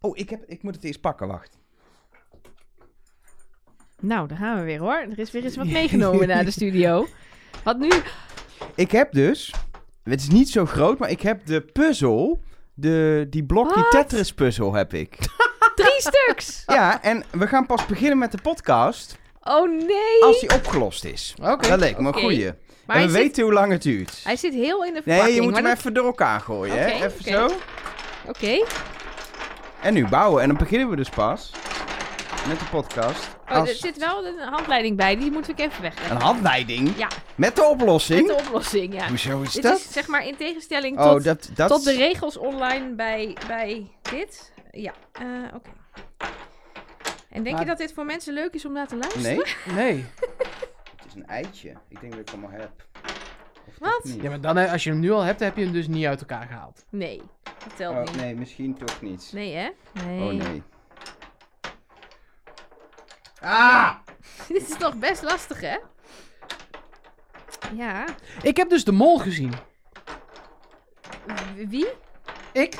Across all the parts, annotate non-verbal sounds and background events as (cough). Oh, ik, heb, ik moet het eerst pakken, wacht. Nou, daar gaan we weer hoor. Er is weer eens wat meegenomen naar de studio. Wat nu? Ik heb dus, het is niet zo groot, maar ik heb de puzzel, de, die blok, die Wat? Tetris puzzel heb (laughs) ik. (laughs) Drie stuks! ja, en we gaan pas beginnen met de podcast Oh nee! als die opgelost is. Oké. Dat leek me een Oké. goeie. Maar en hij we zit- weten hoe lang het duurt. Hij zit heel in de verpakking. Nee, je moet maar hem dat- even door elkaar gooien. Oké, hè? Even oké. zo. Oké. En nu bouwen. En dan beginnen we dus pas met de podcast. Oh, als er zit wel een handleiding bij. Die moeten we ook even Een wegleggen. handleiding Ja, met de oplossing. met de oplossing, ja. Hoezo is Dit dat? is zeg maar in tegenstelling oh, tot, dat, dat tot de regels online bij, bij dit. Ja, eh, oké. En denk Maar- je dat dit voor mensen leuk is om naar te luisteren? Nee, Nee. het is een eitje. Ik denk dat ik hem al heb. Wat? Niet. Ja, maar dan, eh, als je hem nu al hebt, heb je hem dus niet uit elkaar gehaald. Nee, dat telt Oh, niet. Nee. nee, misschien toch niet. hè? Nee. Oh, nee. Ah! (laughs) dit is toch best lastig, hè? Ja. Ik heb dus de mol gezien. W- Wie? Ik.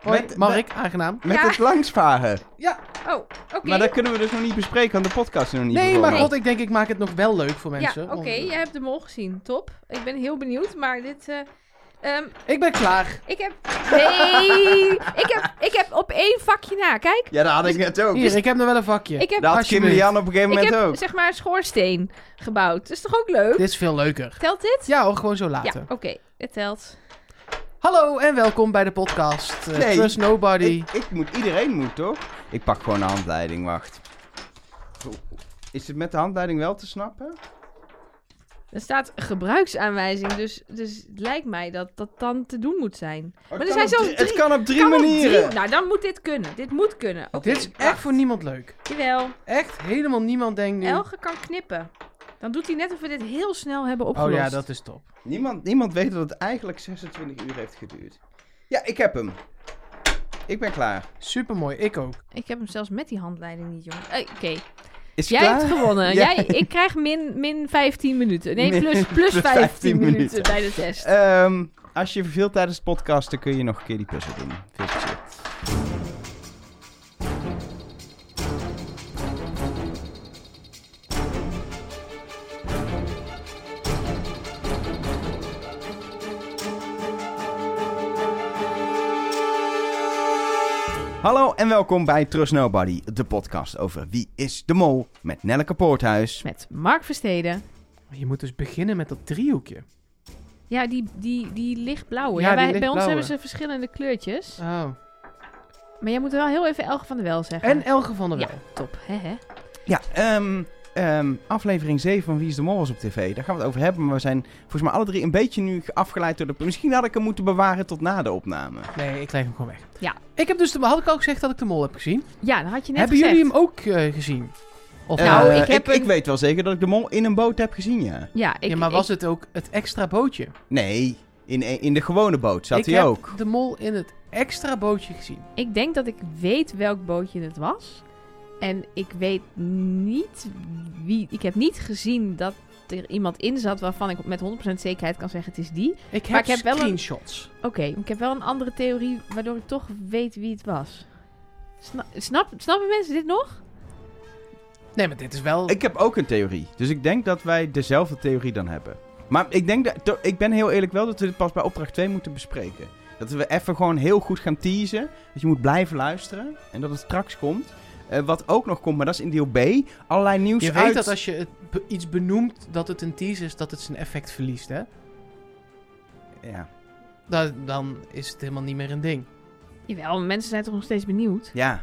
Hoi, Met- Mark, aangenaam. Met Ja. het langsvaren. Ja. Oh, oké. Maar dat kunnen we dus nog niet bespreken, want de podcast is nog niet Nee, maar begonnen. god, ik denk ik maak het nog wel leuk voor Ja, mensen. oké. Want- Jij hebt de mol gezien. Top. Ik ben heel benieuwd, maar dit... eh, ehm, Ik ben klaar. ik heb... Nee! ik, heb, ik heb op één vakje na. Kijk. Ja, dat had ik net ook. Hier, ik heb er wel een vakje. Ik heb, Dat had Alsjeblieft. Kimberly-Jan op een gegeven ik moment heb ook. zeg maar een schoorsteen gebouwd. Dat is toch ook leuk? Dit is veel leuker. Telt dit? Ja hoor, gewoon zo Ja, laten. oké. Het telt. Hallo en welkom bij de podcast eh, Nee. Trust Nobody. Ik, ik moet, iedereen moet toch? Ik pak gewoon de handleiding, wacht. Oeh, Is het met de handleiding wel te snappen? Oh, Er staat gebruiksaanwijzing, dus, dus het lijkt mij dat dat dan te doen moet zijn. maar er het zijn kan op zelfs drie- drie, Het kan op drie kan op manieren. drie- nou, dan moet dit kunnen. Dit moet kunnen. Oké, Dit is echt wacht. voor niemand leuk. Jawel, Echt helemaal niemand denkt nu... Elge kan knippen. Dan doet hij net of we dit heel snel hebben oh opgelost. ja, dat is top. niemand, niemand weet dat het eigenlijk 26 uur heeft geduurd. Ja, ik heb hem. Ik ben klaar. Supermooi, ik ook. Ik heb hem zelfs met die handleiding niet, jongen. Eh, Oké, Is jij klaar? hebt (laughs) gewonnen. Ja. Jij, ik krijg min, min 15 minuten. Nee, Min- plus, plus plus 15, 15 minuten. minuten. bij de test. Ehm, als je verveelt tijdens het podcasten, kun je nog een keer die puzzel doen. Veel plezier. Hallo en welkom bij Trust Nobody, de podcast over wie is de mol met Nelleke Poorthuis. Met Mark Versteden. Je moet dus beginnen met dat driehoekje. Ja, die, die, die lichtblauwe. Ja, Ja, die wij, bij ons lichtblauwe. hebben ze verschillende kleurtjes. Oh. Maar jij moet wel heel even Elge van der Wel zeggen. En Elge van der Ja, Wel. top. Hè, hè? Ja, ehm, ehm, aflevering 7 van Wie is de Mol was op tv. Daar gaan we het over hebben. Maar we zijn volgens mij alle drie een beetje nu afgeleid door de... Misschien had ik hem moeten bewaren tot na de opname. Nee, ik leg hem gewoon weg. Ja. Ik heb dus de, had ik al gezegd dat ik de mol heb gezien? Ja, dat had je net Hebben gezegd. jullie hem ook eh, gezien? Of Nou, Eh, ik heb ik, een- weet wel zeker dat ik de Mol in een boot heb gezien, ja. Ja, ik, ja, maar ik- was het ook het extra bootje? Nee, in, e- in de gewone boot zat ik hij heb ook. de mol in het extra bootje gezien. ik denk dat ik weet welk bootje het was. En ik weet niet wie... Ik heb niet gezien dat er iemand in zat waarvan ik met 100% zekerheid kan zeggen het is die. Ik heb, Maar ik heb wel een- screenshots. Oké, ik heb wel een andere theorie waardoor ik toch weet wie het was. Sna- snap, snappen mensen dit nog? Nee, maar dit is wel... Ik heb ook een theorie. Dus ik denk dat wij dezelfde theorie dan hebben. Maar ik denk dat... to- Ik ben heel eerlijk wel dat we dit pas bij opdracht 2 moeten bespreken. Dat we even gewoon heel goed gaan teasen. Dat je moet blijven luisteren. En dat het straks komt. Eh, wat ook nog komt, maar dat is in deel B. Allerlei nieuws je weet uit... dat als je het be- iets benoemt dat het een tease is, dat het zijn effect verliest, hè? Ja. Da- dan is het helemaal niet meer een ding. Jawel, mensen zijn toch nog steeds benieuwd? Ja.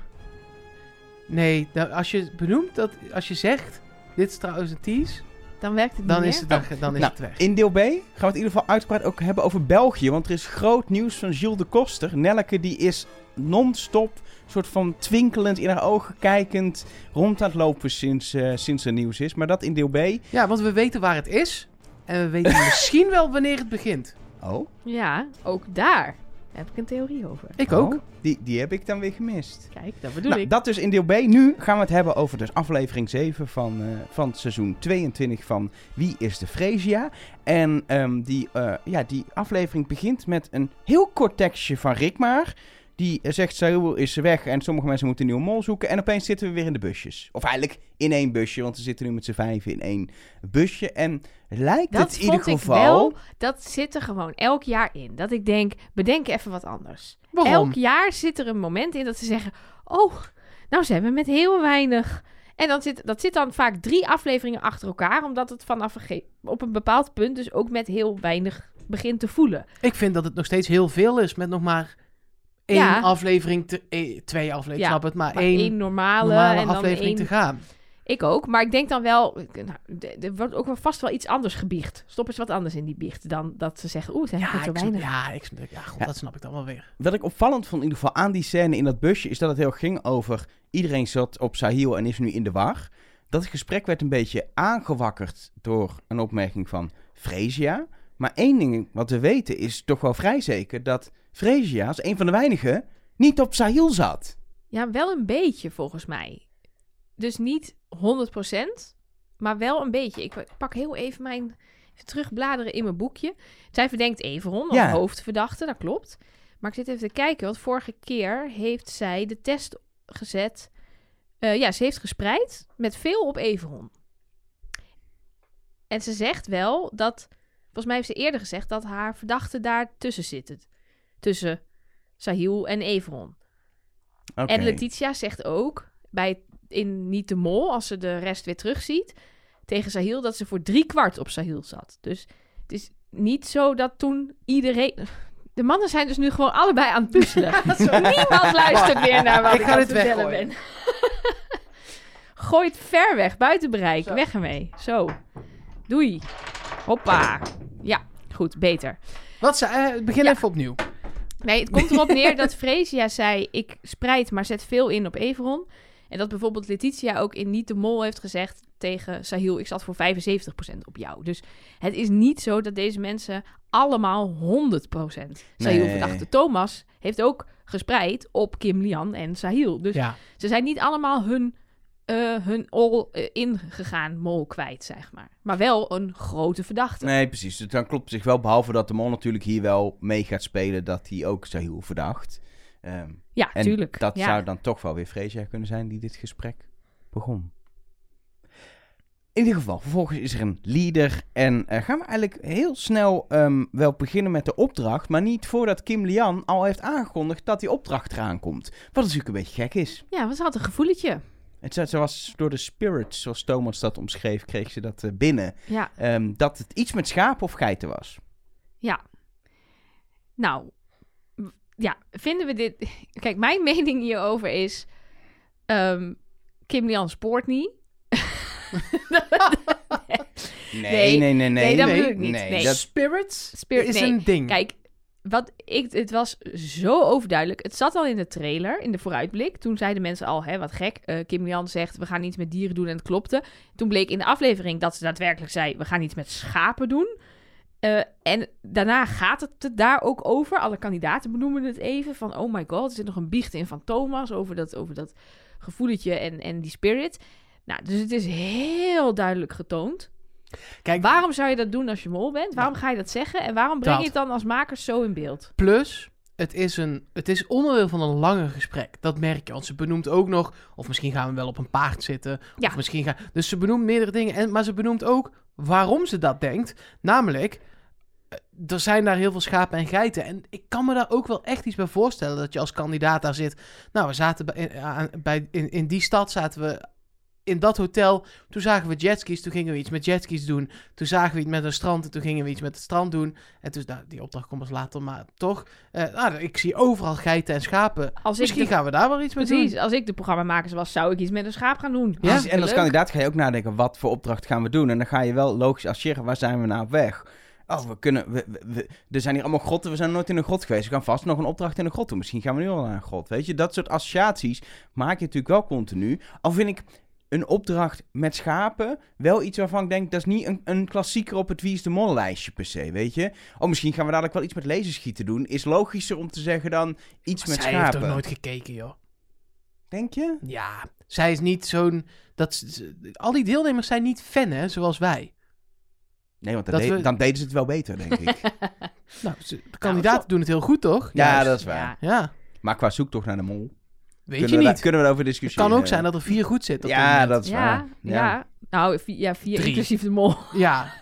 Nee, da- als je het benoemt, dat, als je zegt, dit is trouwens een tease, Dan werkt het dan niet is meer. het, dan, dan is Nou, het weg. In deel B gaan we het in ieder geval uitgebreid ook hebben over België. Want er is groot nieuws van Gilles de Koster. Nelleke die is non-stop, soort van twinkelend in haar ogen kijkend, rond aan het lopen sinds, eh, sinds er nieuws is. Maar dat in deel B. Ja, want we weten waar het is en we (laughs) weten misschien wel wanneer het begint. Oh, Ja, ook daar heb ik een theorie over. Ik ook. oh, die, die heb ik dan weer gemist. Kijk, dat bedoel Nou, ik. dat dus in deel B. Nu gaan we het hebben over dus aflevering 7 van, eh, van seizoen 22 van Wie is de Freesia? En ehm, die, eh, ja, die aflevering begint met een heel kort tekstje van Rikmaar. Die eh, zegt, Saruel is weg en sommige mensen moeten een nieuwe mol zoeken. En opeens zitten we weer in de busjes. Of eigenlijk in één busje, want we zitten nu met z'n vijven in één busje. En lijkt Dat het in ieder vond ik geval... wel, dat zit er gewoon elk jaar in. Dat ik denk, bedenk even wat anders. Waarom? Elk jaar zit er een moment in dat ze zeggen, oh, nou zijn we met heel weinig. En dan zit, dat zit dan vaak drie afleveringen achter elkaar, omdat het vanaf een ge- op een bepaald punt dus ook met heel weinig begint te voelen. Ik vind dat het nog steeds heel veel is met nog maar één Ja. aflevering, te, eh, twee afleveringen, Ja, snap het, maar, Maar één, één, normale, normale en dan aflevering één te gaan. Ik ook, maar ik denk dan wel, ik- nou, d- er wordt ook wel vast wel iets anders gebiecht. Stop eens wat anders in die biecht dan dat ze zeggen, oeh, zijn er Ja, zo ik snap, weinig. ja, ik snap, ja, god, Ja. dat snap ik dan wel weer. Wat ik opvallend vond in ieder geval aan die scène in dat busje... is dat het heel erg ging over iedereen zat op Sahil en is nu in de war. Dat gesprek werd een beetje aangewakkerd door een opmerking van Fresia. Maar één ding wat we weten is toch wel vrij zeker... dat Fresia als een van de weinigen niet op Sahil zat. Ja, wel een beetje volgens mij. Dus niet 100%, maar wel een beetje. Ik pak heel even mijn even terugbladeren in mijn boekje. Zij verdenkt Everon als Ja. hoofdverdachte, dat klopt. Maar ik zit even te kijken, want vorige keer heeft zij de test gezet. Eh, ja, ze heeft gespreid met veel op Everon. En ze zegt wel dat, volgens mij heeft ze eerder gezegd dat haar verdachten daar tussen zitten. Tussen Sahil en Everon. Oké. En Letitia zegt ook, bij, in Niet de Mol, als ze de rest weer terugziet, tegen Sahil, dat ze voor drie kwart op Sahil zat. Dus het is niet zo dat toen iedereen... De mannen zijn dus nu gewoon allebei aan het (laughs) puzzelen. (laughs) Niemand luistert meer naar wat Ik ik, ga aan dit het vertellen weggooien. ben. (laughs) Gooi het ver weg, buiten bereik. Zo. Weg ermee. Zo. Doei. Hoppa. Ja, goed, beter. Wat ze, eh, begin Ja. even opnieuw. Nee, het komt erop neer dat Fresia zei: Ik spreid, maar zet veel in op Everon. En dat bijvoorbeeld Letitia ook in Niet de Mol heeft gezegd tegen Sahil: Ik zat voor 75% op jou. Dus het is niet zo dat deze mensen allemaal 100% Sahil Nee. verdachten. Thomas heeft ook gespreid op Kim Lian en Sahil. Dus Ja. ze zijn niet allemaal hun, eh, hun all-in gegaan mol kwijt, zeg maar. Maar wel een grote verdachte. Nee, precies. Dus dan klopt het zich wel. Behalve dat de mol natuurlijk hier wel mee gaat spelen dat hij ook Sahil verdacht. Ehm, Ja, en tuurlijk. dat ja. zou dan toch wel weer Freesia kunnen zijn die dit gesprek begon. In ieder geval, vervolgens is er een leader. En eh, gaan we eigenlijk heel snel ehm, wel beginnen met de opdracht. Maar niet voordat Kim Lian al heeft aangekondigd dat die opdracht eraan komt. Wat natuurlijk een beetje gek is. ja, want ze had een gevoeletje. Het, ze, ze was door de spirit, zoals Thomas dat omschreef, kreeg ze dat eh, binnen. Ja. ehm, dat het iets met schapen of geiten was. Nou, w- ja, vinden we dit... (laughs) Kijk, mijn mening hierover is... ehm, Kim Lian spoort niet. Nee, nee, Nee, nee, nee. nee, dat nee, bedoel ik niet. Nee. dat- Spirits Spirit- is nee. een ding. Kijk, wat ik, het was zo overduidelijk. Het zat al in de trailer, in de vooruitblik. Toen zeiden mensen al, hè, wat gek. eh, Kim Lian zegt, we gaan iets met dieren doen en het klopte. Toen bleek in de aflevering dat ze daadwerkelijk zei... we gaan iets met schapen doen. Eh, en daarna gaat het er daar ook over. Alle kandidaten benoemen het even. Van, oh my god, er zit nog een biecht in van Thomas... over dat, over dat gevoeletje en, en die spirit. Nou, dus het is heel duidelijk getoond. Kijk, Waarom zou je dat doen als je mol bent? Waarom ga je dat zeggen? En waarom breng Dat. je het dan als makers zo in beeld? Plus, het is, een, het is onderdeel van een langer gesprek. Dat merk je. Want ze benoemt ook nog. Of misschien gaan we wel op een paard zitten. Ja. Of misschien gaan, dus ze benoemt meerdere dingen. En, maar ze benoemt ook waarom ze dat denkt. Namelijk, eh, er zijn daar heel veel schapen en geiten. En ik kan me daar ook wel echt iets bij voorstellen. Dat je als kandidaat daar zit. Nou, we zaten bij, in, aan- bij, in, in die stad zaten we. In dat hotel, toen zagen we jetskis, toen gingen we iets met jetskis doen. Toen zagen we iets met een strand en toen gingen we iets met het strand doen. En dus, nou, die opdracht komt pas later, maar toch. eh, nou, ik zie overal geiten en schapen. Als Misschien ik de, gaan we daar wel iets mee doen. precies, als ik de programmamakers was, zou ik iets met een schaap gaan doen. Ja. Precies, en als kandidaat ga je ook nadenken, wat voor opdracht gaan we doen? En dan ga je wel logisch asseren, waar zijn we nou op weg? Oh, we kunnen... We, we- we- er zijn hier allemaal grotten, we zijn nooit in een grot geweest. We gaan vast nog een opdracht in een grot doen. Misschien gaan we nu al naar een grot, weet je? Dat soort associaties maak je natuurlijk wel continu. Al vind ik een opdracht met schapen wel iets waarvan ik denk... dat is niet een, een klassieker op het Wie is de Mol lijstje per se, weet je? Oh, misschien gaan we dadelijk wel iets met laserschieten doen. Is logischer om te zeggen dan iets met Zij heeft schapen. toch nooit gekeken, joh. Denk je? Ja, zij is niet zo'n... Dat, ze- ze- al die deelnemers zijn niet fan, hè, zoals wij. Nee, want dan, Dat de- we- dan deden ze het wel beter, denk ik. Nou, ze- de kandidaten doen het heel goed, toch? Ja, Juist. dat is waar. Ja. Maar qua zoektocht naar de mol... Weet kunnen je we daar- niet. kunnen we daarover Het discussiëren. kan ook zijn dat er vier goed zitten. op dit Ja, moment. dat is Ja, waar. ja, Nou, vi- ja, vier Drie. inclusief de mol. (laughs) Ja,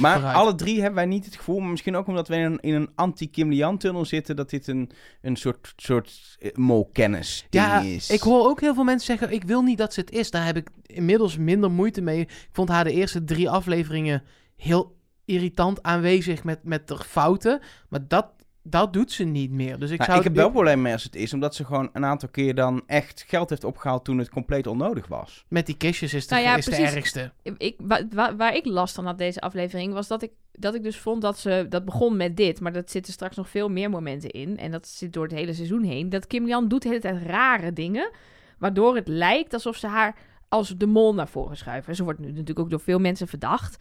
(laughs) Maar vooruit. alle drie hebben wij niet het gevoel, maar misschien ook omdat we in een, in een anti-Kim Lian-tunnel zitten, dat dit een, een soort, soort eh, molkennis ding Ja, is. ik hoor ook heel veel mensen zeggen, ik wil niet dat ze het is. Daar heb ik inmiddels minder moeite mee. Ik vond haar de eerste drie afleveringen heel irritant aanwezig met, met de fouten. Maar dat, dat doet ze niet meer. Dus ik Nou, zou... ik heb wel problemen mee als het is, omdat ze gewoon een aantal keer dan echt geld heeft opgehaald toen het compleet onnodig was. Met die kistjes is, de, Nou ja, is de precies. ergste. ik, wa- wa- waar ik last van had deze aflevering, was dat ik, dat ik dus vond dat ze... Dat begon met dit, maar dat zitten straks nog veel meer momenten in. En dat zit door het hele seizoen heen. Dat Kim Jan doet de hele tijd rare dingen, waardoor het lijkt alsof ze haar als de mol naar voren schuiven. Ze wordt nu natuurlijk ook door veel mensen verdacht.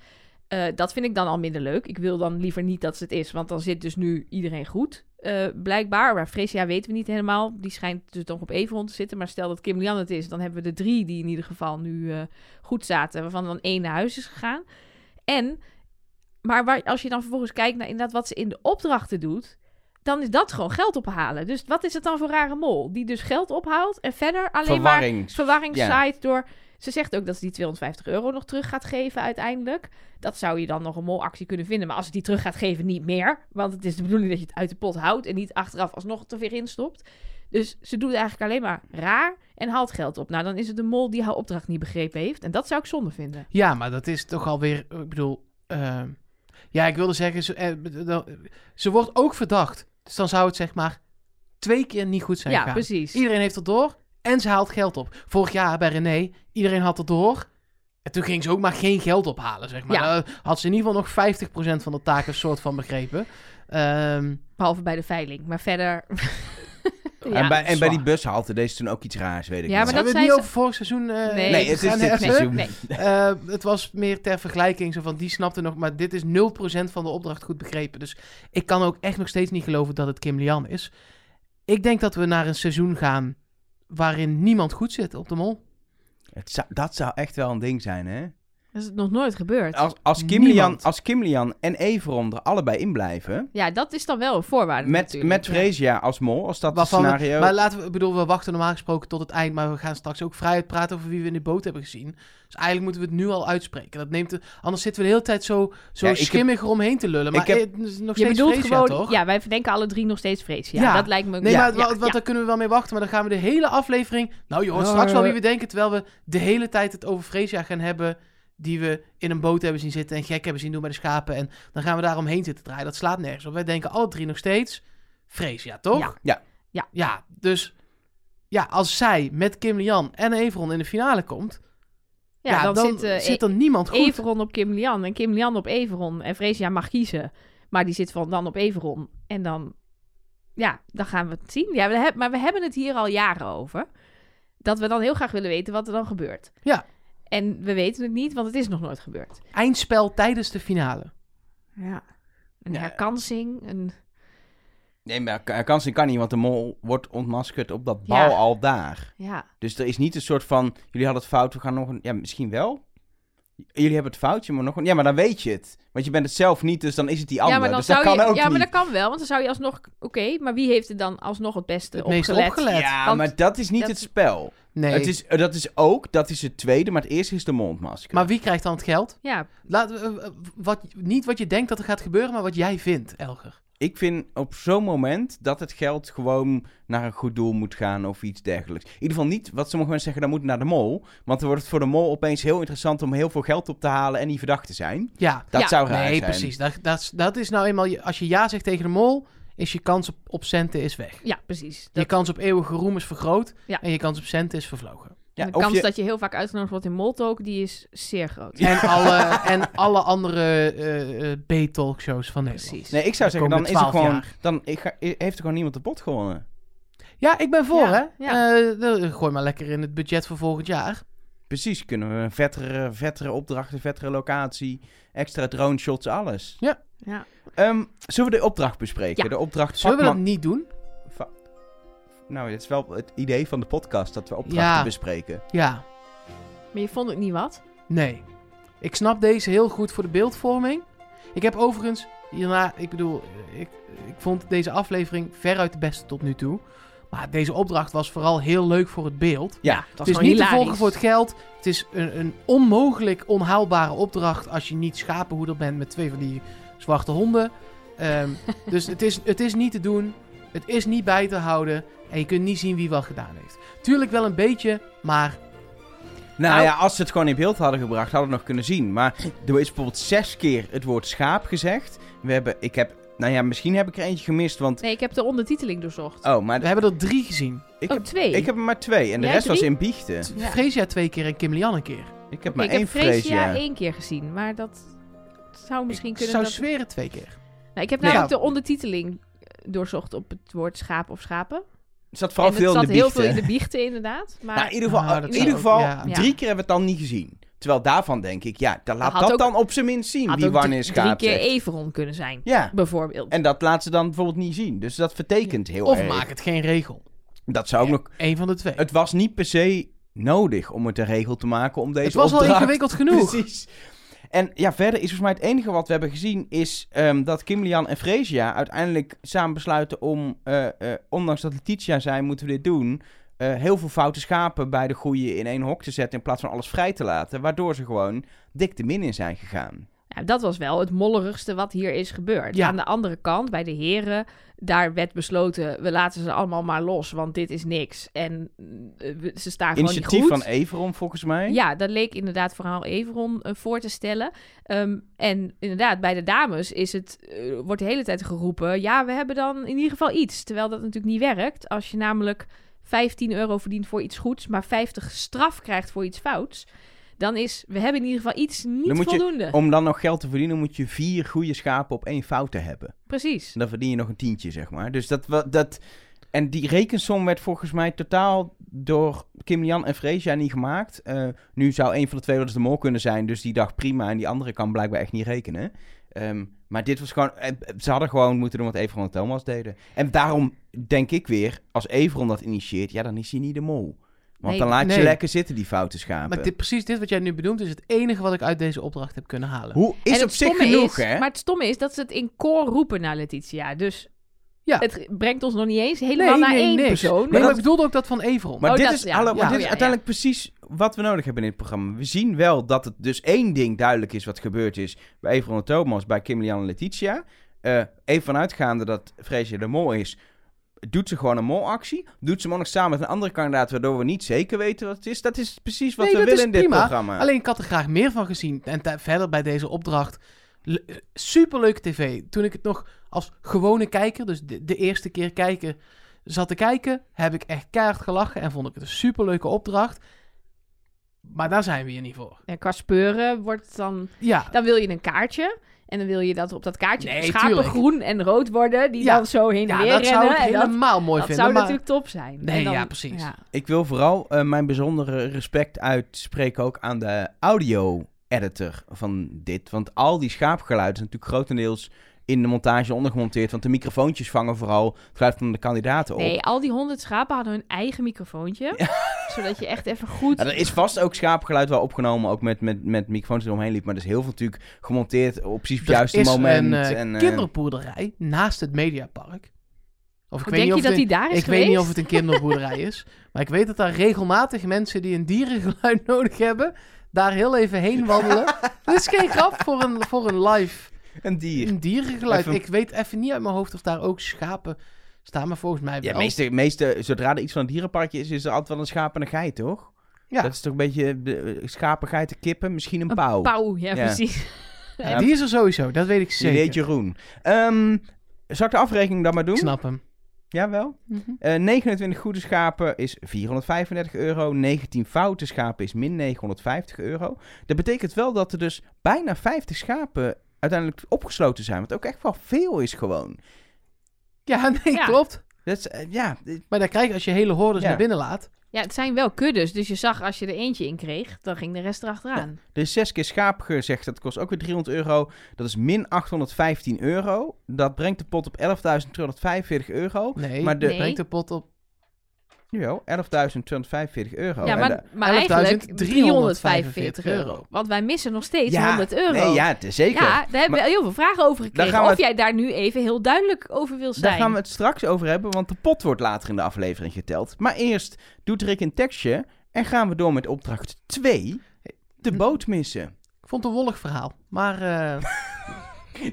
Eh, dat vind ik dan al minder leuk. Ik wil dan liever niet dat ze het is, want dan zit dus nu iedereen goed, eh, blijkbaar. Maar Freesia weten we niet helemaal. Die schijnt dus nog op Everon te zitten. Maar stel dat Kim Lian het is, dan hebben we de drie die in ieder geval nu eh, goed zaten, waarvan dan één naar huis is gegaan. En, maar waar, als je dan vervolgens kijkt naar inderdaad wat ze in de opdrachten doet, dan is dat gewoon geld ophalen. Dus wat is het dan voor rare mol? Die dus geld ophaalt en verder alleen maar Verwarring. verwarring Ja. zaait door... Ze zegt ook dat ze die 250 euro nog terug gaat geven uiteindelijk. Dat zou je dan nog een molactie kunnen vinden. Maar als ze die terug gaat geven, niet meer. Want het is de bedoeling dat je het uit de pot houdt... en niet achteraf alsnog het er weer in stopt. Dus ze doet eigenlijk alleen maar raar en haalt geld op. Nou, dan is het de mol die haar opdracht niet begrepen heeft. En dat zou ik zonde vinden. Ja, maar dat is toch alweer... Ik bedoel... eh, ja, ik wilde zeggen, ze, eh, dan- ze wordt ook verdacht. Dus dan zou het zeg maar twee keer niet goed zijn ja, gegaan. precies. Iedereen heeft het door en ze haalt geld op. Vorig jaar bij René, iedereen had het door. En toen ging ze ook maar geen geld ophalen, zeg maar. Ja. Dan had ze in ieder geval nog 50% van de taken soort van begrepen. Ehm, Behalve bij de veiling. Maar verder... (laughs) ja. en bij, en bij die zwaar. bushalte deed ze toen ook iets raars, weet ik Ja, niet. maar hebben we zei het niet ze- over vorig seizoen? eh, Nee, Nee, het is gaan dit heffen? seizoen. Nee. Eh, het was meer ter vergelijking, zo van die snapte nog, maar dit is 0% van de opdracht goed begrepen. Dus ik kan ook echt nog steeds niet geloven dat het Kim Lian is. Ik denk dat we naar een seizoen gaan waarin niemand goed zit op de mol. Het zou- dat zou echt wel een ding zijn, hè? Dat is het nog nooit gebeurd. Als, als, Kim, Niemand. Lian, als Kim Lian en Everon er allebei in blijven, Ja, dat is dan wel een voorwaarde met, natuurlijk. met Freesia als mol, als dat het Waarvan we- scenario... maar laten we, ik bedoel, we wachten normaal gesproken tot het eind, maar we gaan straks ook vrijheid praten over wie we in de boot hebben gezien. Dus eigenlijk moeten we het nu al uitspreken. Dat neemt de, anders zitten we de hele tijd zo, zo Ja, ik heb- schimmig eromheen te lullen. Maar ik heb- eh, het is nog Je steeds bedoelt Freesia, gewoon... toch? Ja, wij verdenken alle drie nog steeds vrees. Ja, Ja. dat lijkt me... Nee, ja, maar ja, wat, wat, ja. daar kunnen we wel mee wachten. Maar dan gaan we de hele aflevering... Nou joh, Ja, straks wel ja, wie ja. we denken... terwijl we de hele tijd het over Freesia gaan hebben... die we in een boot hebben zien zitten... en gek hebben zien doen bij de schapen. En dan gaan we daar omheen zitten draaien. Dat slaat nergens op. Wij denken alle drie nog steeds... Freesia, toch? Ja. Ja. Ja. Ja, dus... Ja, als zij met Kim Lian en Everon in de finale komt... Ja, dan, zit, eh, er niemand goed. Everon op Kim Lian en Kim Lian op Everon. En Freesia mag kiezen, maar die zit van dan op Everon. En dan, ja, dan gaan we het zien. Ja, we heb- maar we hebben het hier al jaren over. Dat we dan heel graag willen weten wat er dan gebeurt. Ja. En we weten het niet, want het is nog nooit gebeurd. Eindspel tijdens de finale. Ja. Een Ja. herkansing, een... Nee, maar ka- kansen kan niet, want de mol wordt ontmaskerd op dat Ja. bal al daar. Ja. Dus er is niet een soort van, jullie hadden het fout, we gaan nog een... Ja, misschien wel. J- Jullie hebben het foutje, maar nog een... Ja, maar dan weet je het. Want je bent het zelf niet, dus dan is het die ander. ja, maar dan dus zou dat je... kan ook ja, maar niet. dat kan wel, want dan zou je alsnog... Oké, maar wie heeft er dan alsnog het beste Het opgelet? meest opgelet. Ja, Want maar dat is niet dat- het spel. Nee. Het is, eh, dat is ook, dat is het tweede, maar het eerste is de mondmasker. Maar wie krijgt dan het geld? Ja, Laten we, eh, eh, wat, niet wat je denkt dat er gaat gebeuren, maar wat jij vindt, Elger. Ik vind op zo'n moment dat het geld gewoon naar een goed doel moet gaan of iets dergelijks. In ieder geval niet wat sommige mensen zeggen, dat moet naar de mol. Want dan wordt het voor de mol opeens heel interessant om heel veel geld op te halen en niet verdacht te zijn. Ja, Dat Ja. zou raar nee, zijn. precies. Dat, dat, is- dat is nou eenmaal, je- als je ja zegt tegen de mol, is je kans op, op centen is weg. ja, precies. Je Dat, kans op eeuwige roem is vergroot Ja. en je kans op centen is vervlogen. Ja, de of kans je- dat je heel vaak uitgenodigd wordt in Moltok, die is zeer groot. Ja. En alle, (laughs) en alle andere eh, eh, B-talkshows van Nederland. Precies. Nee, ik zou De zeggen, dan is komende er 12 gewoon... jaar. Dan ik ga- heeft er gewoon niemand de pot gewonnen. Ja, ik ben voor, Ja, hè. ja. Eh, dan gooi maar lekker in het budget voor volgend jaar. Precies, kunnen we een vettere, vettere opdrachten, vettere locatie, extra drone shots, alles. Ja. Ehm, zullen we de opdracht bespreken? Ja. De opdracht Zullen we dat vakman... niet doen? va- Nou, dit is wel het idee van de podcast, dat we opdrachten Ja. bespreken. Ja, Maar je vond het niet wat? nee. Ik snap deze heel goed voor de beeldvorming. Ik heb overigens hierna, ik bedoel, ik, ik vond deze aflevering veruit de beste tot nu toe. Maar deze opdracht was vooral heel leuk voor het beeld. Ja, dat het is is gewoon niet te hilarisch. volgen voor het geld. Het is een, een onmogelijk onhaalbare opdracht als je niet schapenhoeder bent met twee van die zwarte honden. Ehm, (laughs) dus het is, het is niet te doen. Het is niet bij te houden. En je kunt niet zien wie wat gedaan heeft. Tuurlijk wel een beetje, maar Nou, Nou- ja, als ze het gewoon in beeld hadden gebracht, hadden we het nog kunnen zien. Maar er is bijvoorbeeld zes keer het woord schaap gezegd. We hebben, ik heb, nou ja, misschien heb ik er eentje gemist, want... Nee, ik heb de ondertiteling doorzocht. Oh, maar we hebben er drie gezien. ik, oh, heb, twee. ik heb er maar twee. En de Jij rest was drie? in biechten. Ja. Freesia twee keer en Kim Lian een keer. Ik heb Oké, maar ik één heb Freesia. Freesia één keer gezien, maar dat zou misschien Ik kunnen... zou dat... zweren twee keer. Nou, ik heb Ja. namelijk de ondertiteling eh, doorzocht op het woord schaap of schapen. Er zat vooral en veel in het zat de heel biechten. veel in de biechten, (laughs) inderdaad. Maar Nou, in ieder geval, Ah, dat in zou ieder ook- geval ja. drie keer hebben we het dan niet gezien. Terwijl daarvan denk ik, ja, dan laat had dat ook- dan op zijn minst zien. had Wie ook wanneer drie, drie schaap keer zegt. Everon kunnen zijn, Ja, bijvoorbeeld. en dat laat ze dan bijvoorbeeld niet zien. Dus dat vertekent heel Of erg. maak het geen regel. Dat zou ook nog... Eén van de twee. Het was niet per se nodig om het een regel te maken om deze Het was al opdracht... ingewikkeld (laughs) genoeg. Precies. En ja, verder is volgens mij het enige wat we hebben gezien... is ehm, dat Kim Lian en Freesia uiteindelijk samen besluiten om... eh, eh, ondanks dat Letitia zei, moeten we dit doen... eh, heel veel foute schapen bij de goeie in één hok te zetten... in plaats van alles vrij te laten. Waardoor ze gewoon dik de min in zijn gegaan. Ja, Nou, dat was wel het mollerigste wat hier is gebeurd. Ja. Aan de andere kant, bij de heren, daar werd besloten... we laten ze allemaal maar los, want dit is niks. En eh, we- ze staan gewoon niet goed. Initiatief van Everon, volgens mij. Ja, dat leek inderdaad verhaal Everon eh, voor te stellen. Ehm, en inderdaad, bij de dames is het, eh, wordt de hele tijd geroepen... ja, we hebben dan in ieder geval iets. Terwijl dat natuurlijk niet werkt. Als je namelijk 15 euro verdient voor iets goeds... maar 50 straf krijgt voor iets fouts... dan is, we hebben in ieder geval iets niet Dan moet je- voldoende. (laughs) Om dan nog geld te verdienen moet je vier goede schapen op één fout te hebben. Precies. En dan verdien je nog een tientje, zeg maar. Dus dat, wa- dat... En die rekensom werd volgens mij totaal door Kim Jan en Freesia niet gemaakt. Eh, nu zou een van de twee wel eens de mol kunnen zijn, dus die dacht prima. En die andere kan blijkbaar echt niet rekenen. Ehm, maar dit was gewoon... eh, ze hadden gewoon moeten doen wat Everon en Thomas deden. En daarom denk ik weer, als Everon dat initieert, ja, dan is hij niet de mol. Want Nee, dan laat je nee. lekker zitten, die foute schapen. Maar dit, precies dit wat jij nu benoemt is het enige wat ik uit deze opdracht heb kunnen halen. Hoe En is het op zich stomme genoeg, is- hè? Maar het stomme is dat ze het in koor roepen naar Letitia. Dus Ja. het brengt ons nog niet eens helemaal Nee, naar nee, één niks. persoon. Nee, dat- maar ik bedoelde ook dat van Everon. Maar Oh, dit dat- is, ja, hallo, ja. maar dit Oh, is ja, uiteindelijk precies wat we nodig hebben in dit programma. We zien wel dat het dus één ding duidelijk is wat gebeurd is bij Everon en Thomas, bij Kim Lian en Letitia. Eh even vanuitgaande dat Freesje de mol is, doet ze gewoon een molactie. Doet ze hem ook nog samen met een andere kandidaat, waardoor we niet zeker weten wat het is. Dat is precies wat Nee, we dat is willen in dit prima. programma. Alleen ik had er graag meer van gezien. En te- verder bij deze opdracht. le- Superleuke tv. Toen ik het nog als gewone kijker, dus de, de eerste keer kijken, zat te kijken, heb ik echt keihard gelachen en vond ik het een superleuke opdracht. Maar daar zijn we hier niet voor. En qua speuren wordt het dan... Ja, Dan wil je een kaartje. En dan wil je dat er op dat kaartje Nee, schapen tuurlijk. groen en rood worden. Die Ja. dan zo heen en ja weer dat rennen. zou ik en dat helemaal mooi dat vinden. zou maar natuurlijk top zijn. En Nee, dan- ja, precies. ja. Ik wil vooral eh, mijn bijzondere respect uitspreken ook aan de audio-editor van dit. Want al die schaapgeluiden zijn natuurlijk grotendeels in de montage ondergemonteerd. Want de microfoontjes vangen vooral het geluid van de kandidaten op. Nee, al die honderd schapen hadden hun eigen microfoontje. Zodat je echt even goed... Ja, Nou, er is vast ook schaapgeluid wel opgenomen, ook met, met, met microfoons die eromheen liepen. Maar er is heel veel natuurlijk gemonteerd op precies het er juiste is moment. een eh, en, eh, kinderboerderij naast het Mediapark. Of ik weet Denk niet je of het dat een- die daar is Ik weet niet of geweest? het een kinderboerderij (laughs) is. Maar ik weet dat daar regelmatig mensen die een dierengeluid (laughs) nodig hebben, daar heel even heen wandelen. dat is geen grap voor een, voor een live een dier. een dierengeluid. Even- Ik weet even niet uit mijn hoofd of daar ook schapen staan, maar volgens mij wel. Ja, meeste, meeste, zodra er iets van een dierenparkje is, is er altijd wel een schaap en een geit, toch? Ja. Dat is toch een beetje eh, schapen, geiten, kippen, misschien een, Een pauw. pauw, ja, Ja. (laughs) precies. Ja. Die is er sowieso, dat weet ik Die zeker. weet Jeroen. Ehm, zal ik de afrekening dan maar Ik doen? snap hem. Jawel. Eh 29 goede schapen is 435 euro. 19 foute schapen is min 950 euro. Dat betekent wel dat er dus bijna 50 schapen uiteindelijk opgesloten zijn. Wat ook echt wel veel is gewoon. Ja, (laughs) nee, Ja. klopt. Dat is, eh, ja, eh, Maar dan krijg je als je hele hordes Ja. naar binnen laat. Ja, het zijn wel kuddes. Dus je zag als je er eentje in kreeg, dan ging de rest erachteraan. er is 6 keer schaap gezegd. Dat kost ook weer 300 euro. Dat is min 815 euro. Dat brengt de pot op 11.245 euro. Nee, Maar de- Nee. brengt de pot op Jawel, 11.245 euro. ja, Oh, En maar, de- maar 11.345 eigenlijk euro. 345 euro. Want wij missen nog steeds Ja, 100 euro. Nee, ja, het is zeker. Ja, daar hebben we heel veel vragen over Daar gaan gekregen. we Of het- jij daar nu even heel duidelijk over wil zijn. Daar gaan we het straks over hebben, want de pot wordt later in de aflevering geteld. Maar eerst doet Rick een tekstje en gaan we door met opdracht 2. Hm. De boot missen. (laughs) Ik vond het een wollig verhaal. Maar eh,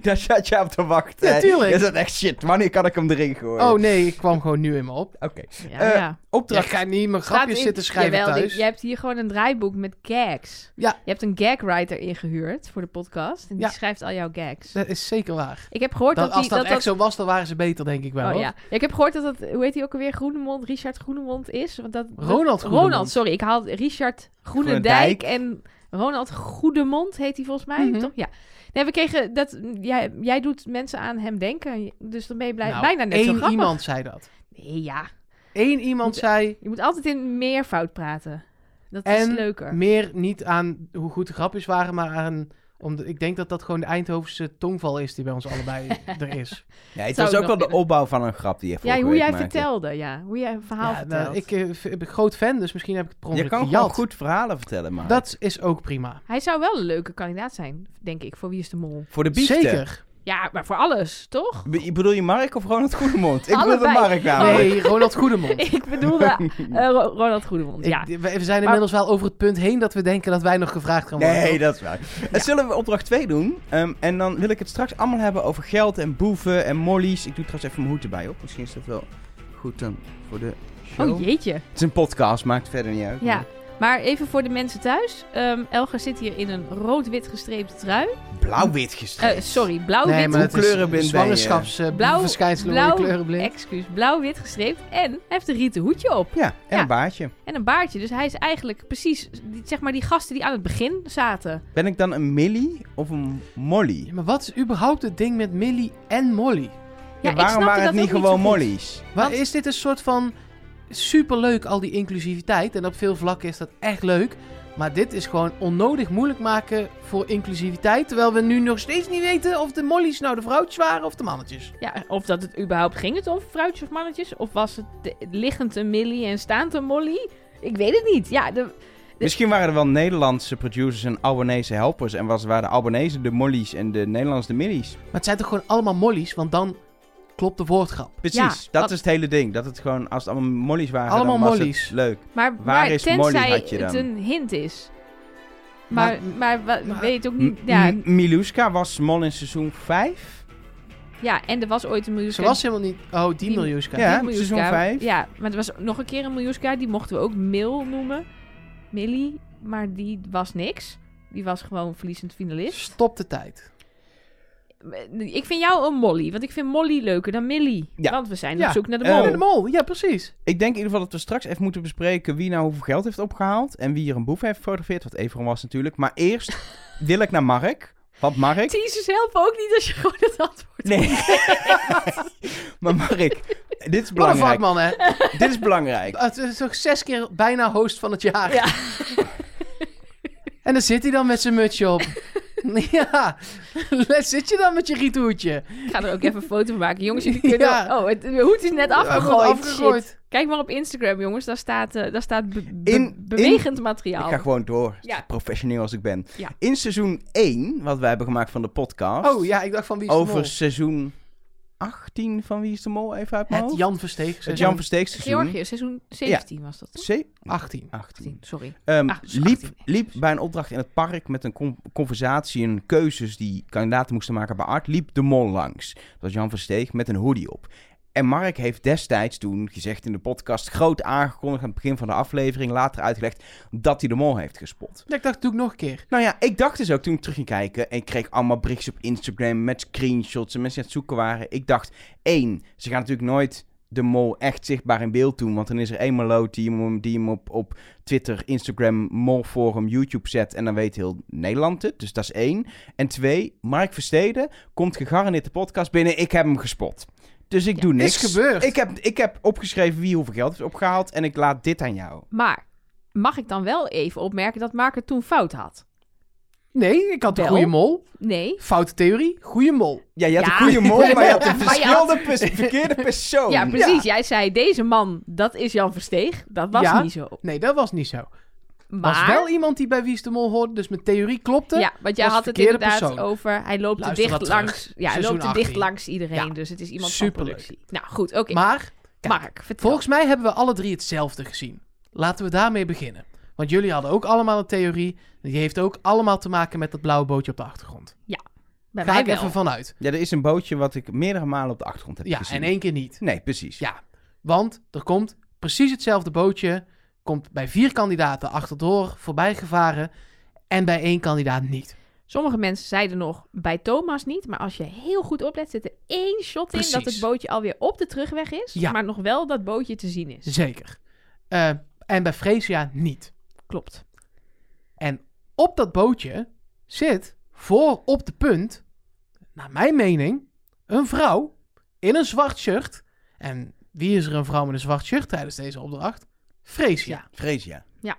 Daar zat je op te wachten. Ja, hè? tuurlijk. Je zat echt shit, wanneer kan ik hem erin gooien? oh nee, ik kwam gewoon nu in me op. Oké. Ja, Eh, ja. Ik Opdracht ga niet mijn Staat grapjes in- zitten schrijven Jawel, thuis. Je hebt hier gewoon een draaiboek met gags. Ja. Je hebt een gagwriter ingehuurd voor de podcast. En die Ja. schrijft al jouw gags. Dat is zeker waar. Ik heb gehoord Dan- dat, als die, dat, dat, echt dat- zo was, dan waren ze beter, denk ik wel. Oh, hoor. ja. Ja, Ik heb gehoord dat dat, hoe heet hij ook alweer, Groenemond, Richard Groenemond is. Want dat, dat- Ronald Groenemond. Ronald, sorry. Ik haal Richard Groenendijk en Ronald Goedemond heet hij volgens mij, Mhm. toch? Ja. Nee, we kregen dat, jij, jij doet mensen aan hem denken, dus dan ben je blij, Nou, bijna net zo één grappig. iemand zei dat. Nee, ja. Eén iemand zei, Je moet altijd in meervoud praten. Dat En is leuker. meer niet aan hoe goed de grapjes waren, maar aan... Omdat, ik denk dat dat gewoon de Eindhovense tongval is die bij ons (laughs) allebei er is. Ja, het Zou was ook wel ik nog de kunnen. opbouw van een grap die je vorige Ja, hoe week jij maakte. vertelde, ja. Hoe jij een verhaal Ja, vertelt. nou, ik eh, v- ben groot fan, dus misschien heb ik het per Je ongeluk kan gewoon gejat. goed verhalen vertellen, maar Dat is ook prima. Hij zou wel een leuke kandidaat zijn, denk ik, voor Wie is de Mol. voor de biefstuk. Zeker. Ja, maar voor alles, (laughs) toch? Be- je Bedoel je Mark of Ronald Goedemond? Ik bedoel de Allebei. Mark namelijk. Nee, Ronald (laughs) Goedemond. ik bedoel eh, eh, Ro- Ronald Goedemond, ja. Ik- we, we zijn inmiddels wel over het punt heen dat we denken dat wij nog gevraagd gaan worden. Nee, dat is waar. Eh, Zullen we opdracht 2 doen? Ehm, en dan wil ik het straks allemaal hebben over geld en boeven en mollies. Ik doe trouwens even mijn hoed erbij op. Misschien is dat wel goed dan voor de show. Oh jeetje. Het is een podcast, maakt verder niet uit. Ja. Maar even voor de mensen thuis. ehm, Elger zit hier in een rood-wit gestreepte trui. Blauw-wit Eh, gestreept. sorry, blauw-wit. Nee, maar Hoe het is kleurenblind ben je? zwangerschaps, Oh, Blauw- blauw, verschijnselen blauw- worden kleurenblind. Excuus, blauw-wit gestreept. En hij heeft een rieten hoedje op. ja, en Ja. een baardje. En een baardje. Dus hij is eigenlijk precies, die- zeg maar, die gasten die aan het begin zaten. Ben ik dan een Millie of een Molly? Ja, maar wat is überhaupt het ding met Millie en Molly? Ja, ik waarom snapte waren het dat niet ook niet gewoon zo goed. mollies? Waar Want- is dit een soort van superleuk al die inclusiviteit en op veel vlakken is dat echt leuk. Maar dit is gewoon onnodig moeilijk maken voor inclusiviteit. Terwijl we nu nog steeds niet weten of de mollies nou de vrouwtjes waren of de mannetjes. Ja, of dat het überhaupt ging het om vrouwtjes of mannetjes. Of was het de- liggend een Millie en staand een Molly? Ik weet het niet. Ja, de, Misschien waren er wel Nederlandse producers en Albanese helpers. En was, waren de Albanese de mollies en de Nederlanders de Millies. Maar het zijn toch gewoon allemaal mollies, want dan klopt de woordgrap. Precies, Ja, dat dat- is het hele ding. Dat het gewoon, als het allemaal mollies waren, Allemaal dan was mollies. het leuk. maar, Waar maar is Molly, tenzij had je het dan? een hint is. Maar, maar, wa- maar- weet ook M- niet. Mm, Ja, M- Miluska was mol in seizoen 5. ja, en er was ooit een miljoen. Ze was helemaal niet... Oh, die Die- miljoenska. Ja. seizoen vijf. Ja, maar er was nog een keer een miljoenska. Die mochten we ook Mil noemen. Millie, maar die was niks. Die was gewoon verliezend finalist. Stop de tijd. Ik vind jou een Molly, want ik vind Molly leuker dan Millie. Ja. Want we zijn Ja, op zoek naar de eh, mol. Oh, de mol. Ja, precies. Ik denk in ieder geval dat we straks even moeten bespreken wie nou hoeveel geld heeft opgehaald. En wie hier een boef heeft gefotografeerd, wat Everon was natuurlijk. Maar eerst wil ik naar Mark. Want (laughs) Mark... Teasers helpen ook niet als je gewoon het antwoord Nee. (laughs) maar Mark, dit is Wat een belangrijk. vakman, hè? Dit is belangrijk. Het is toch zes keer bijna host van het jaar. Ja. (laughs) En dan zit hij dan met zijn mutsje (laughs) op. ja, zit je dan met je riethoedje. Ik ga er ook even een foto van maken. (laughs) Jongens, jullie kunnen... Ja. Oh, het, de hoed is net afgegooid. Wordt afgegooid. Shit. Kijk maar op Instagram, jongens. Daar staat, eh, daar staat be- be- In- bewegend (laughs) Ik materiaal. ga gewoon door, Ja. professioneel als ik ben. Ja. In seizoen 1, wat wij hebben gemaakt van de podcast... Oh ja, ik dacht van wie is de mol? over seizoen 18 van Wie is de Mol, even uit mijn Het hoofd. Jan Versteeg. het Jan Versteeg seizoen. Georgië, seizoen 17 was dat. toch? C- 18. 18. 18, sorry. Ehm, Ah, dus liep, 18, liep excuus. bij een opdracht in het park met een con- conversatie en keuzes die kandidaten moesten maken bij Art, liep de mol langs. Dat was Jan Versteeg met een hoodie op. En Mark heeft destijds toen gezegd in de podcast, groot aangekondigd aan het begin van de aflevering, later uitgelegd dat hij de mol heeft gespot. Ja, Ik dacht, doe ik nog een keer. Nou ja, ik dacht dus ook toen ik terug ging kijken en ik kreeg allemaal berichts op Instagram met screenshots en mensen die aan het zoeken waren. Ik dacht, één, ze gaan natuurlijk nooit de mol echt zichtbaar in beeld doen, want dan is er één maloot die hem, die hem op, op Twitter, Instagram, molforum, YouTube zet en dan weet heel Nederland het. Dus dat is één. En twee, Mark Versteden komt gegarandeerd de podcast binnen, ik heb hem gespot. Dus ik Ja. doe niks. Is gebeurd. Ik heb, ik heb opgeschreven wie hoeveel geld heeft opgehaald en ik laat dit aan jou. Maar mag ik dan wel even opmerken dat Mark het toen fout had? Nee, ik had een Wel. goede mol. Nee. Foute theorie, goede mol. Ja, je had Ja. een goede mol, maar je had Ja, een (laughs) maar je verspilde, pers- verkeerde Oh, persoon. Ja, precies. Jij zei, deze man, dat is Jan Versteeg. Dat was Ja. niet zo. Nee, dat was niet zo. Maar... was wel iemand die bij Wie is de Mol hoorde, dus mijn theorie klopte. Ja, want jij was had het verkeerde inderdaad persoon. over. Hij loopt er Luister dicht dat terug. langs. Ja, hij Seizoen loopt er dicht 18. langs iedereen. Ja, Dus het is iemand superleuk. van productie. Nou goed, oké. Maar kijk, Mark, vertel. volgens mij hebben we alle drie hetzelfde gezien. Laten we daarmee beginnen. Want jullie hadden ook allemaal een theorie. Die heeft ook allemaal te maken met dat blauwe bootje op de achtergrond. Bij Ga mij ik wel. even vanuit. Ja, er is een bootje wat ik meerdere malen op de achtergrond heb Ja, gezien. en één keer niet. Nee, precies. Ja, want er komt precies hetzelfde bootje. Komt bij vier kandidaten achterdoor voorbij gevaren. En bij één kandidaat niet. Sommige mensen zeiden nog bij Thomas niet. Maar als je heel goed oplet, zit er één shot in dat Precies. het bootje alweer op de terugweg is. Ja. Maar nog wel dat bootje te zien is. Zeker. Eh, en bij Freesia niet. Klopt. En op dat bootje zit voor op de punt, naar mijn mening, een vrouw in een zwart shirt. En wie is er een vrouw met een zwart shirt tijdens deze opdracht? Freesia. Vrees ja. Ja.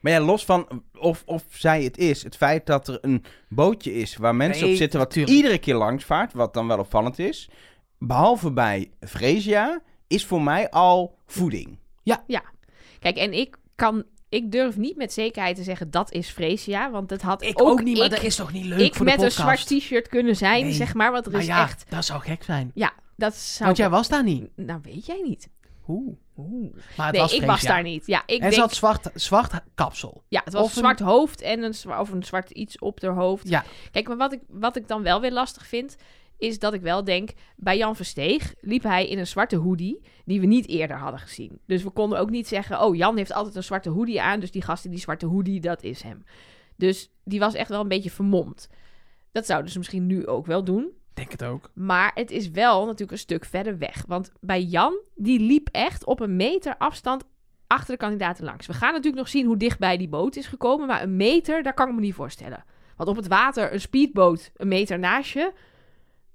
Maar ja, los van of, of zij het is, het feit dat er een bootje is waar mensen Nee, op zitten wat tuurlijk. iedere keer langs vaart, wat dan wel opvallend is, behalve bij Freesia, is voor mij al voeding. Kijk, en ik kan... Ik durf niet met zekerheid te zeggen dat is Freesia. Want dat had ik, is toch niet leuk ik met een zwart t-shirt kunnen zijn, Nee. zeg maar. Want er Maar is ja, echt... Nou, dat zou gek zijn. Ja, dat zou... Want jij was daar niet. Nou, weet jij niet. Oeh. Oeh. Maar het nee, was ik Freesia. was daar niet. Ja, ik en denk, ze had zwart, zwart kapsel. ja, het was of een zwart hoofd en een, zwa- of een zwart iets op haar hoofd. Ja. Kijk, maar wat ik, wat ik dan wel weer lastig vind, is dat ik wel denk... Bij Jan Versteeg liep hij in een zwarte hoodie die we niet eerder hadden gezien. Dus we konden ook niet zeggen, oh, Jan heeft altijd een zwarte hoodie aan... dus die gast in die zwarte hoodie, dat is hem. Dus die was echt wel een beetje vermomd. Dat zouden ze misschien nu ook wel doen. Ik denk het ook. Maar het is wel natuurlijk een stuk verder weg. Want bij Jan, die liep echt op een meter afstand achter de kandidaten langs. We gaan natuurlijk nog zien hoe dichtbij die boot is gekomen. Maar een meter, daar kan ik me niet voorstellen. Want op het water, een speedboot, een meter naast je.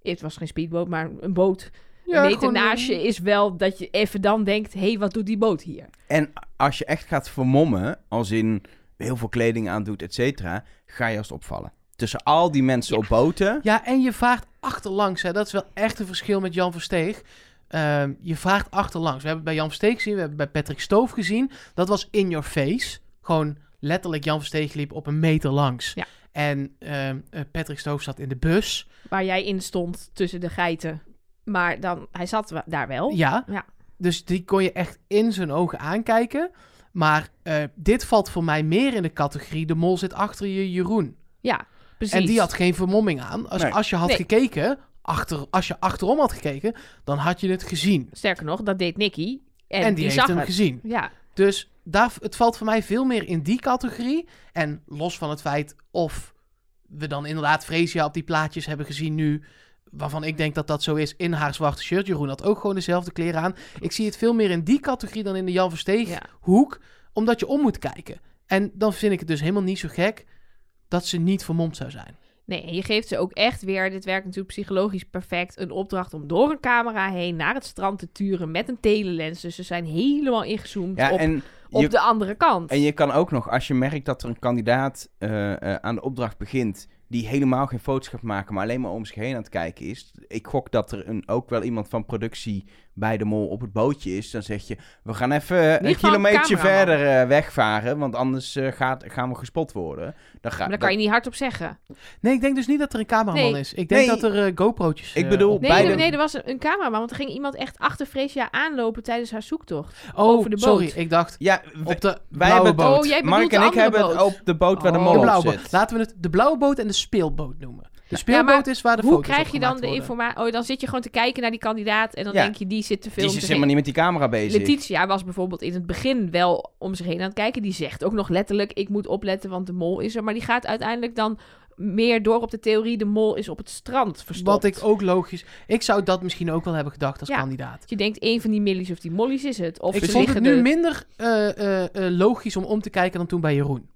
Het was geen speedboot, maar een boot. een meter naast je is wel dat je even dan denkt: hé, hey, wat doet die boot hier? En als je echt gaat vermommen, als in heel veel kleding aandoet, et cetera, ga je als opvallen. Tussen al die mensen Ja. op boten. Ja, en je vaart achterlangs. Hè. Dat is wel echt een verschil met Jan Versteeg. Ehm, je vaart achterlangs. We hebben het bij Jan Versteeg gezien, we hebben het bij Patrick Stoof gezien. Dat was in your face. Gewoon letterlijk Jan Versteeg liep op een meter langs. Ja. En ehm, eh, Patrick Stoof zat in de bus. Waar jij in stond tussen de geiten. Maar dan, hij zat wa- daar wel. Ja. Oh, Ja. Dus die kon je echt in zijn ogen aankijken. Maar eh, dit valt voor mij meer in de categorie... de mol zit achter je Jeroen. Ja, precies. En die had geen vermomming aan. Als, Nee. als je had Nee. gekeken, achter, als je achterom had gekeken, dan had je het gezien. Sterker nog, dat deed Nicky. En, En, die, heeft zag hem het. gezien. Ja, Dus daar, het valt voor mij veel meer in die categorie. En los van het feit of we dan inderdaad Freesia op die plaatjes hebben gezien nu... waarvan ik denk dat dat zo is in haar zwarte shirt. Jeroen had ook gewoon dezelfde kleren aan. Ik zie het veel meer in die categorie dan in de Jan Versteeg ja. hoek... omdat je om moet kijken. En dan vind ik het dus helemaal niet zo gek... dat ze niet vermomd zou zijn. Nee, en je geeft ze ook echt weer, dit werkt natuurlijk psychologisch perfect, een opdracht om door een camera heen naar het strand te turen met een telelens. Dus ze zijn helemaal ingezoomd Ja, op, en op je- de andere kant. En je kan ook nog, als je merkt dat er een kandidaat eh, eh, aan de opdracht begint. die helemaal geen foto's gaat maken, maar alleen maar om zich heen aan het kijken is. Ik gok dat er een, ook wel iemand van productie bij de mol op het bootje is. Dan zeg je: we gaan even eh, een ieder geval een kilometer cameraman. verder eh, wegvaren. want anders eh, gaat, gaan we gespot worden. Dan ga, maar daar kan je niet hardop zeggen. Nee, ik denk dus niet dat er een cameraman Nee. is. Ik denk Nee. dat er eh GoPro'tjes Ik eh, bedoel, op- Nee, Bij nee, de- nee, er was een een cameraman, want er ging iemand echt achter Freesia aanlopen tijdens haar zoektocht. oh, over de boot. sorry, ik dacht Ja, op de wij blauwe hebben- boot. Oh, jij bedoelt Mark de en ik andere hebben het boot. op de boot waar de Oh. mol de op blauwe zit. boot. Laten we het de blauwe boot en de speelboot noemen. De Ja, speelboot maar is waar de Hoe foto's krijg je dan de informatie? informatie? Oh, dan zit je gewoon te kijken naar die kandidaat en dan Ja. denk je, die zit te veel Die is helemaal niet met die camera bezig. Letitia was bijvoorbeeld in het begin wel om zich heen aan het kijken. Die zegt ook nog letterlijk: Ik moet opletten, want de mol is er. Maar die gaat uiteindelijk dan meer door op de theorie: De mol is op het strand verstopt. Wat ik ook logisch... Ik zou dat misschien ook wel hebben gedacht als Ja. kandidaat. Je denkt: een van die Millies of die Mollies is het. Of ik ze vond het liggen nu er- minder eh, eh, eh, logisch om om te kijken dan toen bij Jeroen.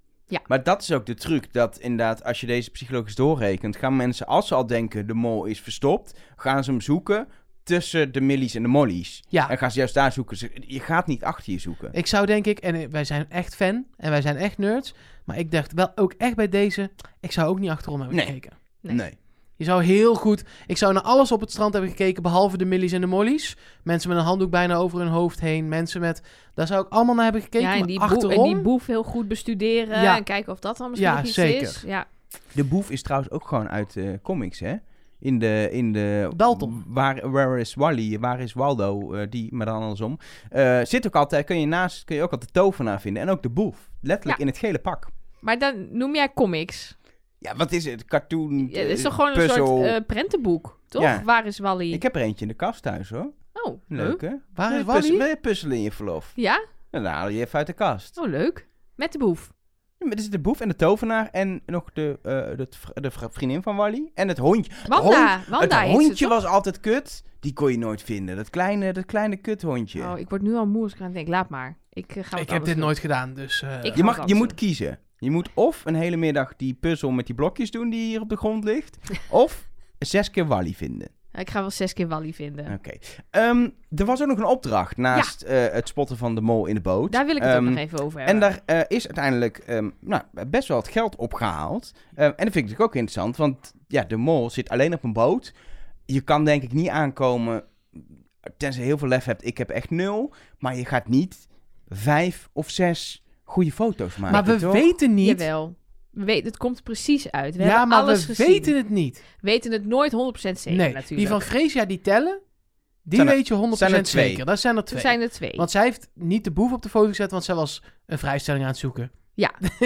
Maar dat is ook de truc, dat inderdaad, als je deze psychologisch doorrekent, gaan mensen, als ze al denken de mol is verstopt, gaan ze hem zoeken, tussen de millies en de mollies. Ja. En gaan ze juist daar zoeken. Ze- Je gaat niet achter je zoeken. Ik zou denk ik, en wij zijn echt fan en wij zijn echt nerds, maar ik dacht wel ook echt bij deze, ik zou ook niet achterom hebben Nee. gekeken. Nee. Nee. Je zou heel goed, ik zou naar alles op het strand hebben gekeken, behalve de millies en de mollies. Mensen met een handdoek bijna over hun hoofd heen, mensen met, daar zou ik allemaal naar hebben gekeken, ja, en maar die, boef, achterom... en die boef heel goed bestuderen Ja. en kijken of dat dan misschien Ja, nog iets zeker. is. Ja, De boef is trouwens ook gewoon uit eh, comics, hè? In de, in de... Dalton. Waar, where is Wally? Waar is Waldo? eh, die, maar dan andersom. Eh, zit ook altijd... Kun je naast... Kun je ook altijd de tovenaar vinden. En ook de boef. Letterlijk Ja. in het gele pak. maar dan noem jij comics. Ja, wat is het? Cartoon, Ja, het eh, is toch gewoon een puzzel. soort eh, prentenboek, toch? Ja. Waar is Wally? Ik heb er eentje in de kast thuis, hoor. Oh, Leuk, leuk. hè? Waar is Wil je Wally? puzzel- wil je puzzelen in je verlof? Ja? Nou, dan haal je even uit de kast. Oh, leuk. Met de boef. Ja, maar er zit de boef en de tovenaar en nog de, eh, de, t- de vr- vriendin van Wally. En het hondje. Wanda. Wanda het heet ze, hondje toch? was altijd kut. Die kon je nooit vinden. Dat kleine, dat kleine kuthondje. Oh, ik word nu al moe als ik aan denk. Laat maar. Ik eh, ga wat Ik heb anders dit doen. nooit gedaan, dus... eh, Ik- je, ga mag, je dansen. moet kiezen. Je moet of een hele middag die puzzel met die blokjes doen die hier op de grond ligt. (laughs) of zes keer Wally vinden. Ik ga wel zes keer Wally vinden. Oké. Ehm, er was ook nog een opdracht naast eh, het spotten van de mol in de boot. Daar wil ik het Ehm, ook nog even over hebben. En daar eh, is uiteindelijk ehm, nou, best wel het geld opgehaald. Ehm, en dat vind ik natuurlijk ook interessant, want ja, de mol zit alleen op een boot. Je kan denk ik niet aankomen, tenzij je heel veel lef hebt. Ik heb echt nul, maar je gaat niet vijf of zes goede foto's maken. maar we toch? weten niet... Jawel. We weten, het komt precies uit. We ja, hebben maar alles we gezien. weten het niet. weten het nooit 100% zeker nee, natuurlijk. die van Freesia die tellen, die Zijn er- weet je 100% zijn er twee. zeker. Dat zijn er Er twee. zijn er twee. Want zij heeft niet de boef op de foto gezet, want zij was een vrijstelling aan het zoeken.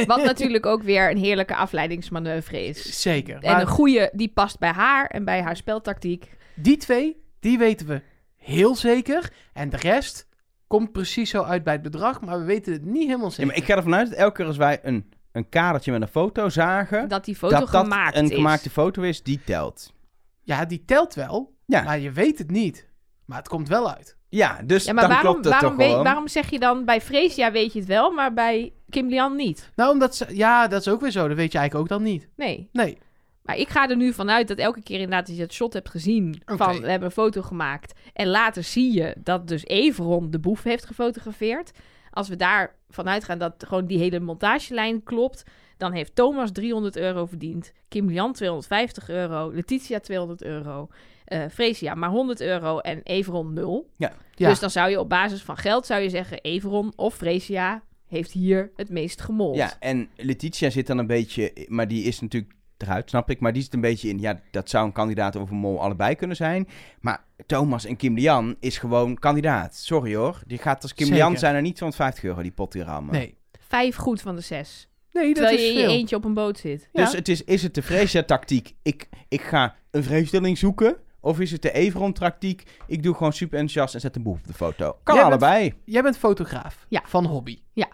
Wat natuurlijk ook weer een heerlijke afleidingsmanoeuvre is. Zeker. En Maar een goede die past bij haar en bij haar speltactiek. die twee, die weten we heel zeker. En de rest komt precies zo uit bij het bedrag, maar we weten het niet helemaal Ja, maar zeker. ik ga ervan uit dat elke keer als wij een, een kadertje met een foto zagen, Dat die foto dat dat gemaakt een is. gemaakte foto is, die telt. Ja, die telt wel, Ja. maar je weet het niet. Maar het komt wel uit. Ja, dus Ja, maar dan waarom, klopt het waarom, toch weet- gewoon. waarom zeg je dan bij Freesia weet je het wel, maar bij Kim Lian niet? Nou, omdat ze... Ja, dat is ook weer zo. Dat weet je eigenlijk ook dan niet. Nee. Nee. Maar ik ga er nu vanuit dat elke keer inderdaad als je dat shot hebt gezien Oké. van we hebben een foto gemaakt. En later zie je dat dus Everon de boef heeft gefotografeerd. Als we daar vanuit gaan dat gewoon die hele montagelijn klopt, dan heeft Thomas 300 euro verdiend. Kim Lian 250 euro, Letitia 200 euro, eh Freesia maar 100 euro en Everon 0. Ja. Dus dan zou je op basis van geld zou je zeggen Everon of Freesia heeft hier het meest gemold. Ja, en Letitia zit dan een beetje, maar die is natuurlijk eruit, snap ik. Maar die zit een beetje in, ja, dat zou een kandidaat of een mol allebei kunnen zijn. Maar Thomas en Kim Lian is gewoon kandidaat. Sorry hoor, die gaat als Kim Zeker. Lian zijn er niet 250 euro die pot die rammen. nee. Vijf goed van de zes. Nee, dat terwijl is je in je veel. eentje op een boot zit. Dus Ja. het is, is het de Freesia-tactiek, ik, ik ga een vreemdeling zoeken? Of is het de Everon-tactiek, ik doe gewoon super enthousiast en zet een boef op de foto? Kan Jij bent- allebei. Jij bent fotograaf. Ja. Van hobby. Ja.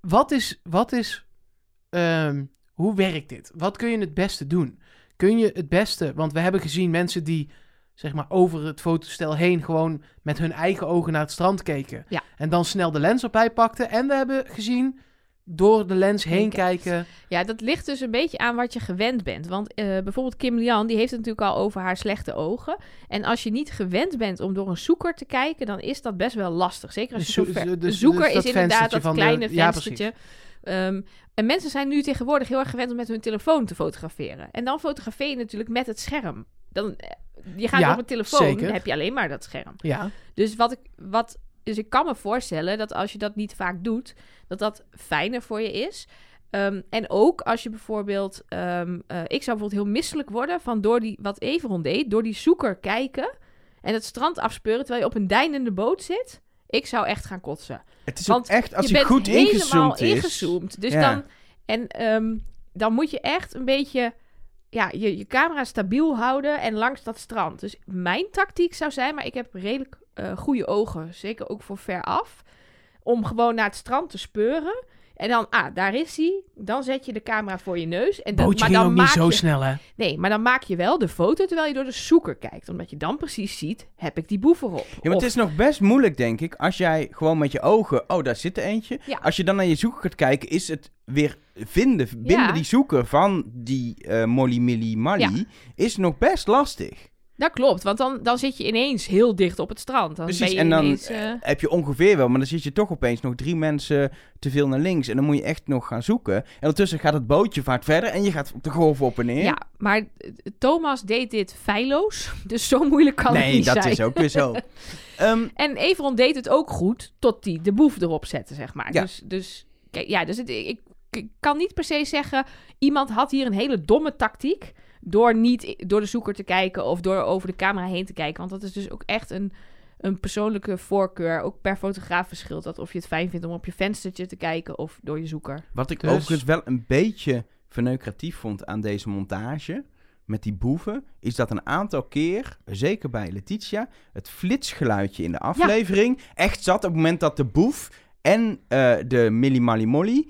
Wat is... Wat is ehm, hoe werkt dit? Wat kun je het beste doen? Kun je het beste... Want we hebben gezien mensen die... Zeg maar over het fotostel heen gewoon met hun eigen ogen naar het strand keken. Ja. En dan snel de lens erbij pakten. En we hebben gezien door de lens heen Heen kijken. Ja, dat ligt dus een beetje aan wat je gewend bent. Want eh, bijvoorbeeld Kim Lian, die heeft het natuurlijk al over haar slechte ogen. En als je niet gewend bent om door een zoeker te kijken, dan is dat best wel lastig. Zeker als je Zo- zo ver- zo- een dus- zoeker dus dat is inderdaad venstertje dat van de- kleine ja, venstertje. Ehm, en mensen zijn nu tegenwoordig heel erg gewend om met hun telefoon te fotograferen. En dan fotografeer je natuurlijk met het scherm. Dan, eh, je gaat Ja, op een telefoon, zeker. dan heb je alleen maar dat scherm. Ja. Dus wat ik, wat, dus ik kan me voorstellen dat als je dat niet vaak doet, dat dat fijner voor je is. Ehm, en ook als je bijvoorbeeld, ehm, eh, ik zou bijvoorbeeld heel misselijk worden van door die, wat Everon deed, door die zoeker kijken en het strand afspeuren terwijl je op een deinende boot zit. Ik zou echt gaan kotsen. Het is Want ook echt, als je hij bent goed helemaal ingezoomd is... ingezoomd. Dus Ja. dan, en ehm, dan moet je echt een beetje ja, je, je camera stabiel houden en langs dat strand. Dus mijn tactiek zou zijn, maar ik heb redelijk eh, goede ogen, zeker ook voor veraf, om gewoon naar het strand te speuren. En dan, ah, daar is hij. Dan zet je de camera voor je neus. En dan, Bootje maar ging dan ook niet maak zo je, snel, hè? Nee, maar dan maak je wel de foto terwijl je door de zoeker kijkt. Omdat je dan precies ziet, heb ik die boef erop? Ja, maar Of- het is nog best moeilijk, denk ik, als jij gewoon met je ogen... Oh, daar zit er eentje. Ja. Als je dan naar je zoeker gaat kijken, is het weer vinden, binnen die zoeker van die eh Molly Millie Molly... is nog best lastig. Dat klopt, want dan, dan zit je ineens heel dicht op het strand. Dan Precies, ben je en dan, ineens, eh, Heb je ongeveer wel, maar dan zit je toch opeens nog drie mensen te veel naar links. En dan moet je echt nog gaan zoeken. En ondertussen gaat het bootje vaart verder en je gaat op de golf op en neer. Ja, maar eh, Thomas deed dit feilloos, (laughs) dus zo moeilijk kan het nee, niet dat zijn. is ook weer (laughs) zo. Ehm, En Everon deed het ook goed, tot die de boef erop zette, zeg maar. Ja. Dus, dus, kijk, ja, dus het, ik, ik kan niet per se zeggen, iemand had hier een hele domme tactiek... door niet door de zoeker te kijken of door over de camera heen te kijken. Want dat is dus ook echt een, een persoonlijke voorkeur. Ook per fotograaf verschilt dat of je het fijn vindt om op je venstertje te kijken of door je zoeker. Wat ik Dus- overigens wel een beetje verneukeratief vond aan deze montage met die boeven, is dat een aantal keer, zeker bij Letitia, het flitsgeluidje in de aflevering echt zat op het moment dat de boef en eh, de Millie Molly Molly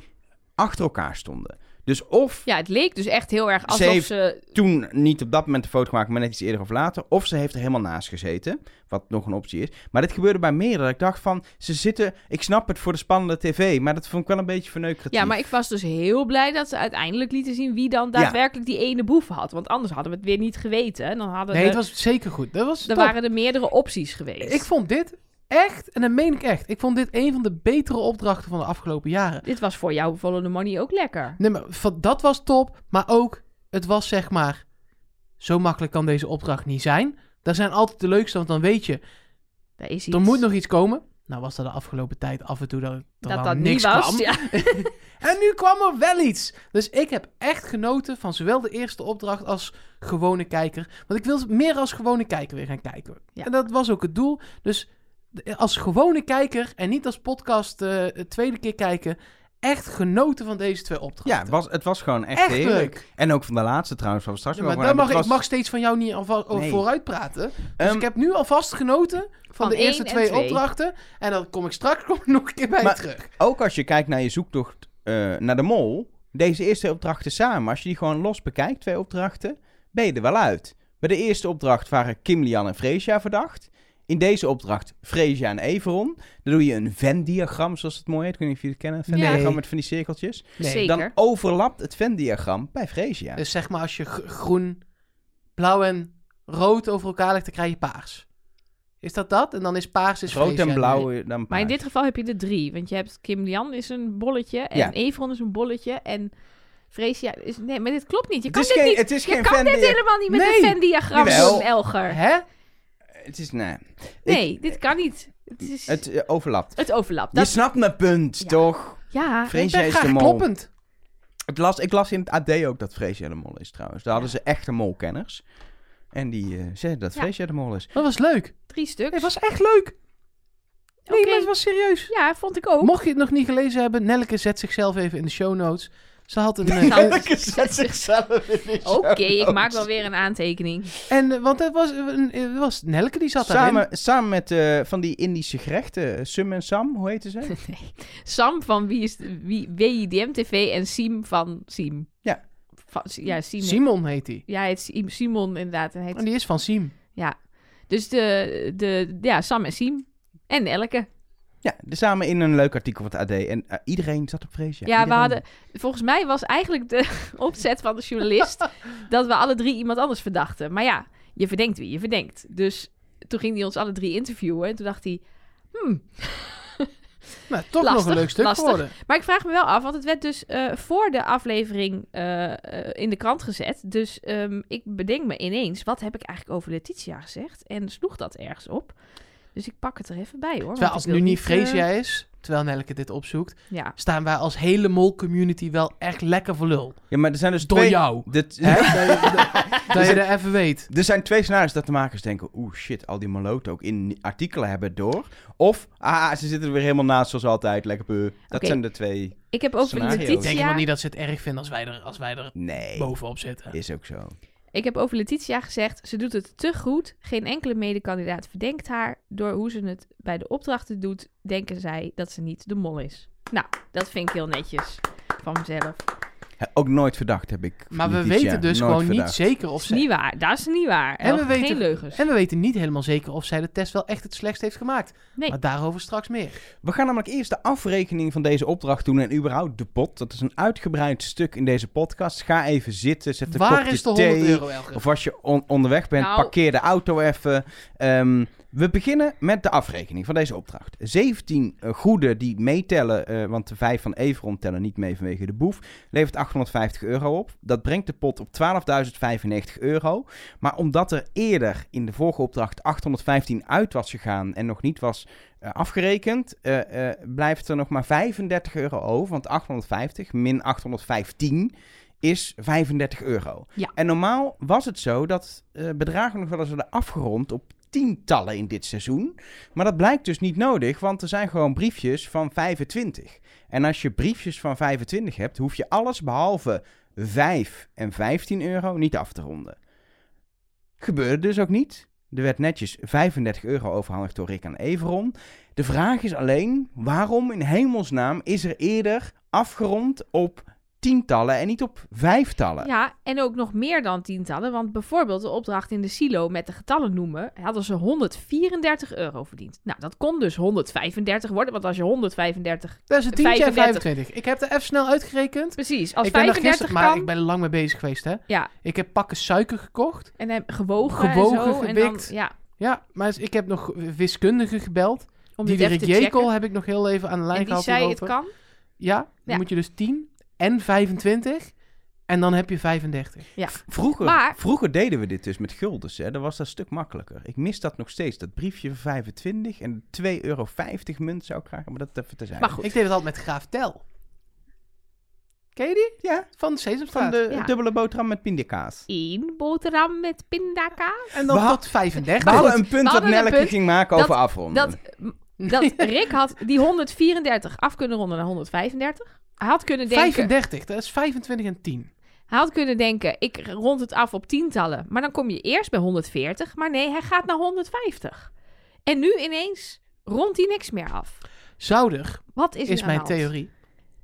achter elkaar stonden. Dus of Ja, het leek dus echt heel erg Ze alsof heeft- ze toen niet op dat moment de foto gemaakt, maar net iets eerder of later. Of ze heeft er helemaal naast gezeten, wat nog een optie is. Maar dit gebeurde bij meerdere. Ik dacht van, ze zitten... Ik snap het voor de spannende tv, maar dat vond ik wel een beetje verneukeratief. Ja, maar ik was dus heel blij dat ze uiteindelijk lieten zien wie dan Ja. daadwerkelijk die ene boef had. Want anders hadden we het weer niet geweten. En dan hadden Nee, we- het was zeker goed. Dat was er top. waren er meerdere opties geweest. Ik vond dit echt, en dat meen ik echt, ik vond dit een van de betere opdrachten van de afgelopen jaren. Dit was voor jou Follow the Money ook lekker. Nee, maar van- dat was top, maar ook, het was zeg maar, zo makkelijk kan deze opdracht niet zijn. Dat zijn altijd de leukste, want dan weet je, Daar is iets. er moet nog iets komen. Nou was dat de afgelopen tijd af en toe dat, dat, dat er dat niet niks was. kwam. Ja. En nu kwam er wel iets. Dus ik heb echt genoten van zowel de eerste opdracht als gewone kijker. Want ik wil meer als gewone kijker weer gaan kijken. Ja. En dat was ook het doel. Dus de- als gewone kijker en niet als podcast eh de tweede keer kijken. Echt genoten van deze twee Ja, het opdrachten. was, het was gewoon echt, echt heerlijk. leuk. En ook van de laatste trouwens, waar we straks Ja, nog maar over daar mag, hebben. Het ik mag was- steeds van jou niet alvast Nee. vooruit praten. Dus Ehm, ik heb nu alvast genoten van, Van de één eerste en twee, twee. opdrachten. En dan kom ik straks (laughs) kom ik nog een keer bij je Maar- terug. Ook als je kijkt naar je zoektocht eh, naar de mol, deze eerste opdrachten samen, als je die gewoon los bekijkt, twee opdrachten, ben je er wel uit. Bij de eerste opdracht waren Kim, Lian en Freesia verdacht. In deze opdracht Freesia en Everon. Dan doe je een Venn-diagram, zoals het mooi heet. Ik weet niet of jullie het kennen, een Venn-diagram Nee. met van die cirkeltjes. Nee, Zeker. Dan overlapt het Venn-diagroom bij Freesia. Dus zeg maar als je gr- groen, blauw en rood over elkaar legt, dan krijg je paars. Is dat dat? En dan is paars is Rood Freesia. en blauw eh, dan Maar in paars. dit geval heb je er drie. Want je hebt Kim Lian is een bolletje. En Ja. Evron is een bolletje. En Freesia is... Nee, maar dit klopt niet. Je Het kan is dit geen- niet... het is je geen kan dit Venn-dia- helemaal niet met Nee. een Venn-diagram Jawel. doen, Elger. Hè? Het is, nee. Nee, dit kan niet. Het, is... Het het... eh, overlapt. overlapt. Je Dat... snapt mijn punt, Ja. toch? Ja. Ik Freesia ben is de graag mol. kloppend. Ik las, ik las in het AD ook dat Freesia de Mol is trouwens. Daar hadden ze echte molkenners. En die eh zeiden dat Ja. Freesia de Mol is. Dat was leuk. Drie stuks. Het was echt leuk. Nee, Oké. maar het was serieus. Ja, vond ik ook. Mocht je het nog niet gelezen hebben, Nelleke zet zichzelf even in de show notes. (laughs) Ze (laughs) had een... eh, Nou, en, zet zichzelf in de Oké, ik maak (laughs) wel weer een aantekening. (laughs) en, eh, want het was, een- het was Nelleke die zat daarin. Samen, samen met eh, van die Indische gerechten, eh, Sum en Sam, hoe heten (laughs) ze? Sam van wie is wie, WIDM TV en Siem van Siem. Ja. Van, ja, Siem. Simon heet die. Ja, hij heet Siem- Simon inderdaad. En hij heet- En die is van Siem. Ja. Dus de, de, ja, Sam en Siem. En Elke. Ja, de- samen in een leuk artikel van het AD. En eh, iedereen zat op Freesia. Ja, Iedereen. we hadden... Volgens mij was eigenlijk de (laughs) opzet van de (laughs) journalist... dat we alle drie iemand anders verdachten. Maar ja, je verdenkt wie je verdenkt. Dus toen ging hij ons alle drie interviewen. En toen dacht hij... Hmm, Nou, toch nog Lastig, een leuk stuk lastig. geworden. Maar ik vraag me wel af, want het werd dus eh, voor de aflevering eh, eh, in de krant gezet. Dus ehm, ik bedenk me ineens, wat heb ik eigenlijk over Letitia gezegd? En sloeg dat ergens op. Dus ik pak het er even bij hoor. want Terwijl ik als het wil nu niet eh, Freesia is, terwijl Nelleke dit opzoekt, ja. staan wij als hele mol-community wel echt lekker voor lul. Ja, maar er zijn dus Door twee... jou. Dit- Hè? (laughs) dat, je, dat je er even weet. Er zijn twee scenario's dat de makers denken... Oeh, shit, al die maloten ook in artikelen hebben door. Of, ah, ze zitten er weer helemaal naast zoals altijd. Lekker puur. Dat Oké. zijn de twee... Ik heb over Scenario. Ik denk helemaal Letitia, niet dat ze het erg vinden als wij er, als wij er Nee, bovenop zitten. is ook zo. ik heb over Letitia gezegd, ze doet het te goed. Geen enkele medekandidaat verdenkt haar. Door hoe ze het bij de opdrachten doet, denken zij dat ze niet de mol is. Nou, dat vind ik heel netjes van mezelf. He- Ook nooit verdacht heb ik. Maar we Letitia. weten dus Nooit gewoon niet verdacht. zeker of is ze... niet waar. Dat is niet waar. En we Elke, weten- Geen leugens. En we weten niet helemaal zeker of zij de test wel echt het slechtst heeft gemaakt. Nee. Maar daarover straks meer. We gaan namelijk eerst de afrekening van deze opdracht doen en überhaupt de pot. Dat is een uitgebreid stuk in deze podcast. Ga even zitten, zet een Waar kopje is de 100 thee. euro, Elger? Of als je on- onderweg bent, Nou. parkeer de auto even. Ehm, we beginnen met de afrekening van deze opdracht. 17 eh, goede die meetellen, eh, want de 5 van Everon tellen niet mee vanwege de boef, levert 850 euro op. Dat brengt de pot op 12.095 euro. Maar omdat er eerder in de vorige opdracht 815 uit was gegaan en nog niet was eh, afgerekend, eh, eh, blijft er nog maar 35 euro over. Want 850 min 815 is 35 euro. Ja. En normaal was het zo dat eh, bedragen nog wel eens werden afgerond op tientallen in dit seizoen. Maar dat blijkt dus niet nodig, want er zijn gewoon briefjes van 25. En als je briefjes van 25 hebt, hoef je alles behalve 5 en 15 euro niet af te ronden. Gebeurde dus ook niet. Er werd netjes 35 euro overhandigd door Rick aan Everon. De vraag is alleen, waarom in hemelsnaam is er eerder afgerond op tientallen en niet op vijftallen? Ja, en ook nog meer dan tientallen. Want bijvoorbeeld de opdracht in de silo met de getallen noemen... hadden ze 134 euro verdiend. Nou, dat kon dus 135 worden. Want als je 135... Dat is een tientje en 35. 25. Ik heb er even snel uitgerekend. Precies, als ik ben er 35 gisteren, kan... maar ik ben er lang mee bezig geweest, hè. Ja. Ik heb pakken suiker gekocht. En hem gewogen, Gewogen, en zo. En gewikt. dan, ja, Ja, maar ik heb nog wiskundigen gebeld. om die dit even Dirk te checken. Jekel heb ik nog heel even aan de lijn En die gehad zei, het hierover. kan. Ja, dan Ja. moet je dus 10 en 25 en dan heb je 35. Vroeger, Maar- vroeger deden we dit dus met guldens. Hè? Dan was dat een stuk makkelijker. Ik mis dat nog steeds. Dat briefje van 25 en 2,50 euro munt zou ik graag hebben. Maar dat even terzijde. Maar goed. Ik deed het altijd met Graaf Tel. Ken je die? Ja, Van van Sesamstraat. de Ja. dubbele boterham met pindakaas. Eén boterham met pindakaas. En dan We tot 35. We hadden een punt we dat hadden een Nelleke punt ging maken dat- over afronden. Dat, (laughs) dat Rick had die 134 af kunnen ronden naar 135. Hij had kunnen denken... 35, dat is 25 en 10. Hij had kunnen denken, ik rond het af op tientallen. Maar dan kom je eerst bij 140. Maar nee, hij gaat naar 150. En nu ineens rondt hij niks meer af. Zou er, Wat is, is, er aan de mijn hand? theorie,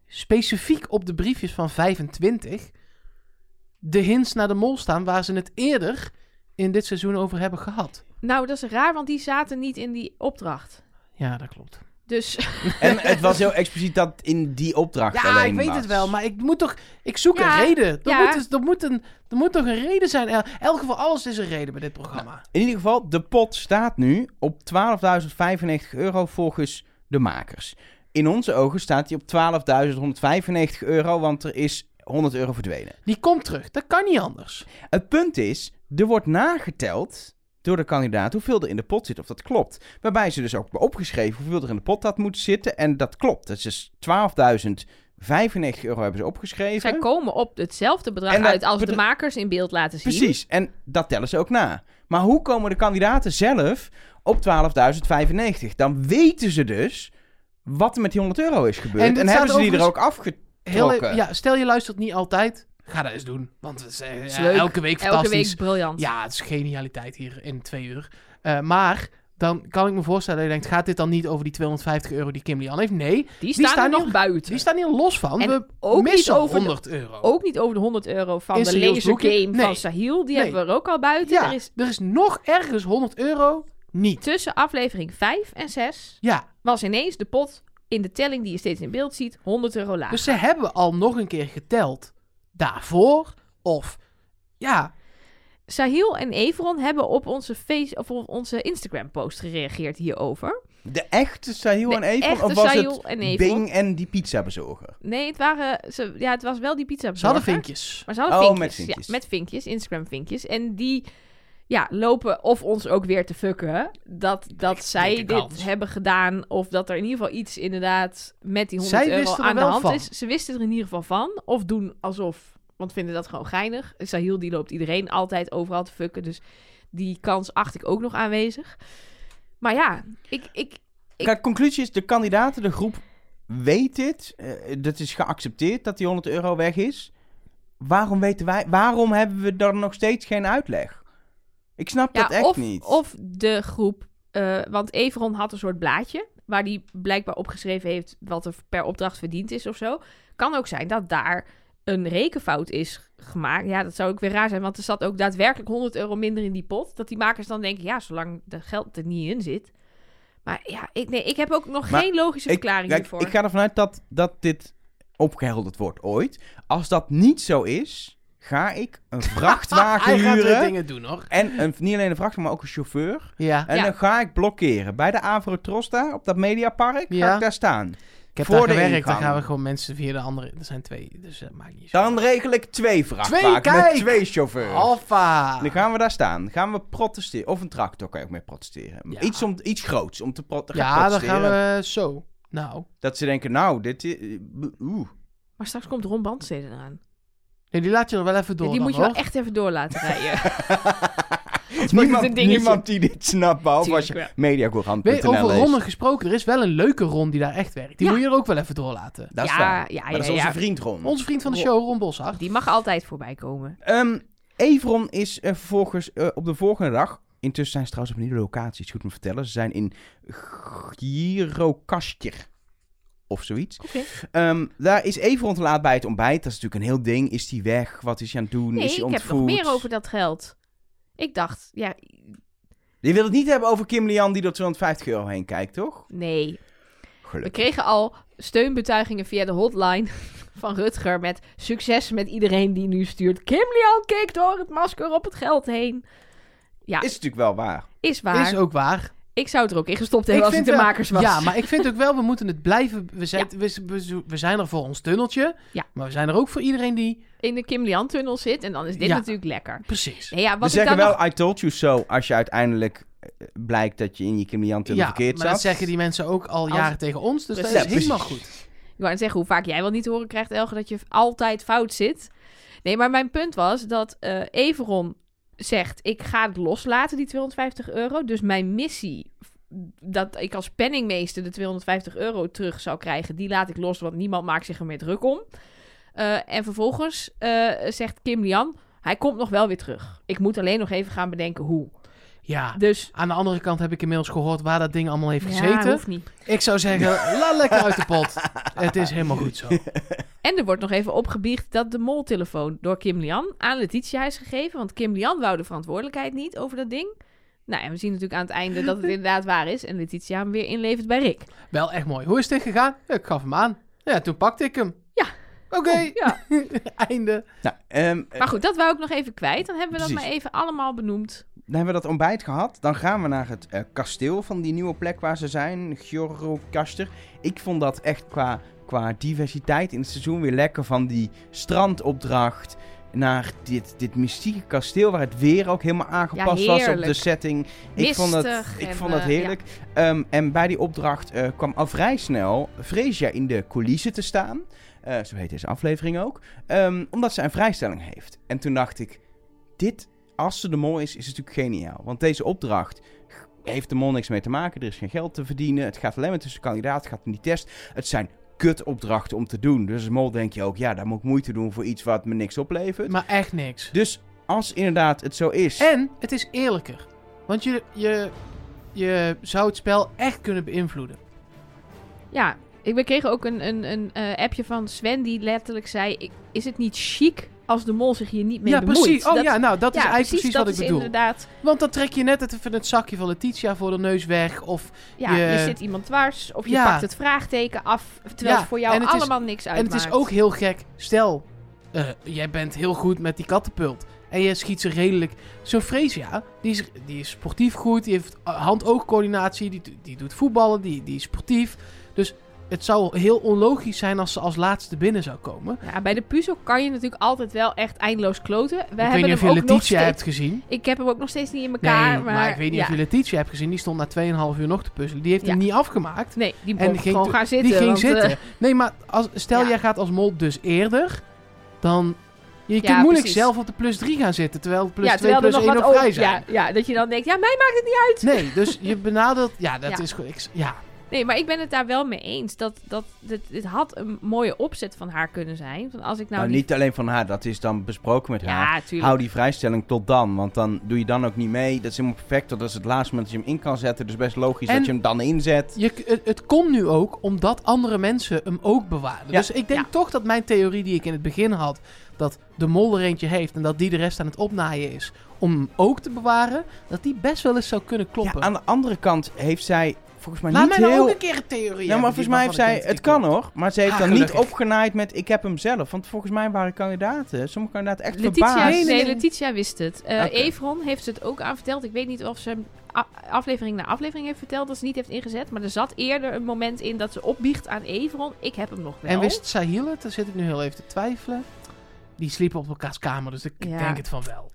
specifiek op de briefjes van 25 de hints naar de mol staan waar ze het eerder in dit seizoen over hebben gehad? Nou, dat is raar, want die zaten niet in die opdracht. Ja, dat klopt. Dus (laughs) En het was heel expliciet dat in die opdracht Ja, alleen ik weet was. het wel, maar ik moet toch... Ik zoek Ja, een reden. Er, ja. moet, dus- er, moet een, er moet toch een reden zijn. El- Elk geval, alles is een reden bij dit programma. In ieder geval, de pot staat nu op 12.095 euro volgens de makers. In onze ogen staat die op 12.195 euro, want er is 100 euro verdwenen. Die komt terug. Dat kan niet anders. Het punt is, er wordt nageteld door de kandidaat hoeveel er in de pot zit, of dat klopt. Waarbij ze dus ook hebben opgeschreven hoeveel er in de pot had moeten zitten. En dat klopt. Dat is dus 12.095 euro hebben ze opgeschreven. (laughs) zij komen op hetzelfde bedrag En dat uit als de bedra- makers in beeld laten zien. Precies, en dat tellen ze ook na. Maar hoe komen de kandidaten zelf op 12.095? Dan weten ze dus wat er met die 100 euro is gebeurd. En En, dit hebben staat ze die er ook overigens- afgetrokken. Heel, even- ja, stel je luistert niet altijd. Ga dat eens doen. Want het is, eh, Is ja, leuk. elke week Elke fantastisch. week briljant. Ja, het is genialiteit hier in twee uur. Eh, maar dan kan ik me voorstellen dat je denkt... gaat dit dan niet over die 250 euro die Kim Lian heeft? Nee, die staan staan er nog hier- buiten. die staan hier los van. En We ook niet missen over de- 100 euro. Ook niet over de 100 euro van Is de serieus laser boekje? game Nee. van Sahil. Die Nee. hebben we er ook al buiten. ja, Er is er is nog ergens 100 euro niet. tussen aflevering 5 en 6 Ja, was ineens de pot in de telling die je steeds in beeld ziet 100 euro lager. Dus ze hebben al nog een keer geteld daarvoor. Of ja, Dus Sahil en Everon hebben op onze, face, of op onze Instagram-post gereageerd hierover. De echte Sahil De en Evon? echte of was Sahil het en Evon. Bing en die pizzabezorger? Nee, het, waren, ze, ja, het was wel die pizza. ze hadden vinkjes. Maar ze hadden Oh, vinkjes. met vinkjes. Ja, met vinkjes, Instagram-vinkjes. En die ja, lopen of ons ook weer te fucken. Dat, dat zij dikke dit kans. hebben gedaan. Of dat er in ieder geval iets inderdaad met die 100 Zij euro wisten er aan de wel hand van. is. Ze wisten er in ieder geval van. Of doen alsof. Want vinden dat gewoon geinig. Sahil die loopt iedereen altijd overal te fucken. Dus die kans acht ik ook nog aanwezig. Maar ja, ik, ik, Ik- Kijk, conclusie is, de kandidaten, de groep weet dit. Eh, dat is geaccepteerd dat die 100 euro weg is. Waarom weten wij, waarom hebben we daar nog steeds geen uitleg? Ik snap dat echt of, niet. Of de groep. eh, want Everon had een soort blaadje. Waar die blijkbaar opgeschreven heeft wat er per opdracht verdiend is of zo. Kan ook zijn dat daar eh, een rekenfout is gemaakt. Ja, dat zou ook weer raar zijn, want er zat ook daadwerkelijk 100 euro minder in die pot. Dat die makers dan denken, ja, zolang dat geld er niet in zit. Maar ja, ik, nee, ik heb ook nog Maar geen logische verklaring kijk, hiervoor. Ik ga ervan uit dat, dat dit opgehelderd wordt ooit. Als dat niet zo is, ga ik (laughs) een vrachtwagen Hij gaat weer huren. dingen doen, hoor. En een, niet alleen een vrachtwagen, maar ook een chauffeur. Ja. En Ja. dan ga ik blokkeren. Bij de Avro Trosta, op dat mediapark, ga Ja. ik daar staan. Ik heb Voor daar de gewerkt, dan ingang. gaan we gewoon mensen via de andere... Er zijn twee, dus dat maakt niet zo Dan regel ik twee vrachtwagen kijk! Oh. met twee chauffeurs. Alfa! Dan gaan we daar staan. Gaan we protesteren. Of een tractor kan je ook mee protesteren. Ja. Iets, om, iets groots om te pro- te gaan Ja, dan protesteren. gaan we zo. Nou. Dat ze denken, nou, dit is... Oeh. Maar straks komt Ron Bandsteden eraan. Nee, die laat je nog wel even door. Ja, die dan, moet je wel hoor. echt even door laten (laughs) rijden. wordt het niemand, een dingetje. niemand die dit snapt, behalve als Tuurlijk je wel. Weet, mediacourant.nl over leest. ronden gesproken, er is wel een leuke Ron die daar echt werkt. Die Ja. moet je er ook wel even door laten. Dat is ja, waar. ja, Maar ja, dat is onze ja. vriend Ron. Onze vriend van de Ron- show, Ron Boshart. Die mag altijd voorbij komen. Ehm, Evron is eh, vervolgens eh, op de volgende dag... Intussen zijn ze trouwens op een nieuwe locatie, is goed om te vertellen. Ze zijn in Girokastjer. Of zoiets. Oké. Ehm, daar is Evron te laat bij het ontbijt. Dat is natuurlijk een heel ding. Is hij weg? Wat is hij aan het doen? Nee, is hij ik heb ontvoerd? nog meer over dat geld. Ik dacht, ja, Je wil het niet hebben over Kim Lian die door 250 euro heen kijkt, toch? nee. We Gelukkig. kregen al steunbetuigingen via de hotline (laughs) van Rutger met succes met iedereen die nu stuurt. Kim Lian keek door het masker op het geld heen. Ja, Is is, natuurlijk wel waar. waar. Is ook waar. Ik zou het er ook in gestopt hebben als ik de wel- makers was. Ja, maar ik vind ook wel, we moeten het blijven... We zijn, we, we, we zijn er voor ons tunneltje. Ja. Maar we zijn er ook voor iedereen die... In de Kim Lian tunnel zit en dan is dit Ja. natuurlijk lekker. Precies. Nee, ja, We wat ik zeggen dan wel, nog... I told you so, als je uiteindelijk eh, blijkt dat je in je Kim Lian tunnel Ja, maar verkeerd zat. dat zeggen die mensen ook al Als- jaren tegen ons. Dus dat Precies. is Ja, helemaal precies. goed. Ik wou net zeggen, hoe vaak jij wel niet te horen krijgt, Elge, dat je altijd fout zit. Nee, maar mijn punt was dat eh Everon zegt, ik ga het loslaten, die 250 euro. Dus mijn missie, f- dat ik als penningmeester de 250 euro terug zou krijgen, die laat ik los, want niemand maakt zich er meer druk om. Eh, en vervolgens eh, zegt Kim Lian, hij komt nog wel weer terug. Ik moet alleen nog even gaan bedenken hoe. Ja. Dus... Aan de andere kant heb ik inmiddels gehoord waar dat ding allemaal heeft Ja, Ah, gezeten. hoeft niet. ik zou (laughs) zeggen, la lekker uit de pot. Het is helemaal goed zo. En er wordt nog even opgebiecht dat de moltelefoon door Kim Lian aan Letitia is gegeven. Want Kim Lian wou de verantwoordelijkheid niet over dat ding. Nou, en we zien natuurlijk aan het einde (laughs) dat het inderdaad waar is. En Letitia hem weer inlevert bij Rick. Wel echt mooi. Hoe is dit gegaan? Ja, ik gaf hem aan. Ja, toen pakte ik hem. Ja. Oké, (laughs) Ja. einde. Nou, ehm, eh, Maar goed, dat wou ik nog even kwijt. Dan hebben we dat Precies. maar even allemaal benoemd. dan hebben we dat ontbijt gehad. Dan gaan we naar het eh, kasteel van die nieuwe plek waar ze zijn, Gjorrokaster. Ik vond dat echt qua, qua diversiteit in het seizoen weer lekker. Van die strandopdracht naar dit, dit mystieke kasteel waar het weer ook helemaal aangepast was op de heerlijk. setting. Ik vond dat, Mistig ik en, vond dat eh, heerlijk. Ehm, en bij die opdracht eh, kwam al vrij snel Freesia in de coulissen te staan. Eh, zo heet deze aflevering ook. Ehm, omdat ze een vrijstelling heeft. En toen dacht ik, dit, als ze de mol is, is het natuurlijk geniaal. Want deze opdracht g- heeft de mol niks mee te maken. Er is geen geld te verdienen. Het gaat alleen maar tussen kandidaat. Het gaat om die test. Het zijn kutopdrachten om te doen. Dus als mol denk je ook, ja, daar moet ik moeite doen voor iets wat me niks oplevert. Maar echt niks. Dus als inderdaad het zo is... En het is eerlijker. Want je, je, je zou het spel echt kunnen beïnvloeden. Ja, ik we kregen ook een, een, een eh, appje van Sven die letterlijk zei... "Ik- Is het niet chic als de mol zich hier niet mee ja, bemoeit? precies. Oh Dat- ja, nou, dat is ja, eigenlijk precies, dat wat ik is bedoel. inderdaad... Want dan trek je net het- even het zakje van Letitia voor de neus weg. Of, Ja, Je- je zit iemand dwars of je Ja. pakt het vraagteken af. Terwijl Ja, het voor jou en het is- allemaal niks en uitmaakt. het is ook heel gek. Stel, eh, jij bent heel goed met die kattenpult. En je schiet ze redelijk. Zo'n Freesia, die is, die is sportief goed. Die heeft eh, hand-oogcoördinatie. Die, do- die doet voetballen. Die, die is sportief. Dus het zou heel onlogisch zijn als ze als laatste binnen zou komen. Ja, bij de puzzel kan je natuurlijk altijd wel echt eindeloos kloten. We ik weet hebben niet of hem je ook nog Letitia steeds... hebt gezien. Ik heb hem ook nog steeds niet in Nee, elkaar. maar, ik weet niet ja. of je Letitia hebt gezien. Die stond na 2,5 uur nog te puzzelen. Die heeft hem Ja. niet afgemaakt. Nee, die En kon ging gewoon te- gaan zitten. die ging want, eh, zitten. Nee, maar als, stel ja. jij gaat als mol dus eerder, dan... Je kunt moeilijk precies. zelf op de plus 3 gaan zitten, terwijl de plus ja, 2 terwijl er plus nog 1 wat nog (laughs) vrij over... zijn. Ja, ja, dat je dan denkt, ja, mij... Nee, dus je benadert... Ja, dat Ja. is... goed. Ik, s- ja, Nee, maar ik ben het daar wel mee eens. Dat, dat, dat, het had een mooie opzet van haar kunnen zijn. Van als ik nou, Nou, die- niet alleen van haar, dat is dan besproken met haar. Ja, tuurlijk. Hou die vrijstelling tot dan, want dan doe je dan ook niet mee. Dat is helemaal perfect, dat is het laatste moment dat je hem in kan zetten. Dus best logisch En- dat je hem dan inzet. Je, k- het, het kon nu ook omdat andere mensen hem ook bewaarden. Ja. Dus ik denk Ja. toch dat mijn theorie die ik in het begin had... dat de mol er eentje heeft en dat die de rest aan het opnaaien is... om hem ook te bewaren, dat die best wel eens zou kunnen Ja, kloppen. aan de andere kant heeft zij volgens mij Laat niet mij nou heel... ook een keer een theorie hebben. ja, Nou, maar die volgens mij heeft waarvan ik zij... denk dat Het die kan klopt. hoor, maar ze heeft Ah, dan niet gelukkig. opgenaaid met ik heb hem zelf. Want volgens mij waren kandidaten, sommige kandidaten echt Letitia, verbaasd. nee, nee, nee. Letitia wist het. Eh Oké. Evron heeft het ook aan verteld. Ik weet niet of ze hem a- aflevering na aflevering heeft verteld dat ze niet heeft ingezet. Maar er zat eerder een moment in dat ze opbiecht aan Evron. Ik heb hem nog wel. En wist Sahil het? Daar zit ik nu heel even te twijfelen. Die sliepen op elkaars kamer, dus ik Ja. denk het van wel.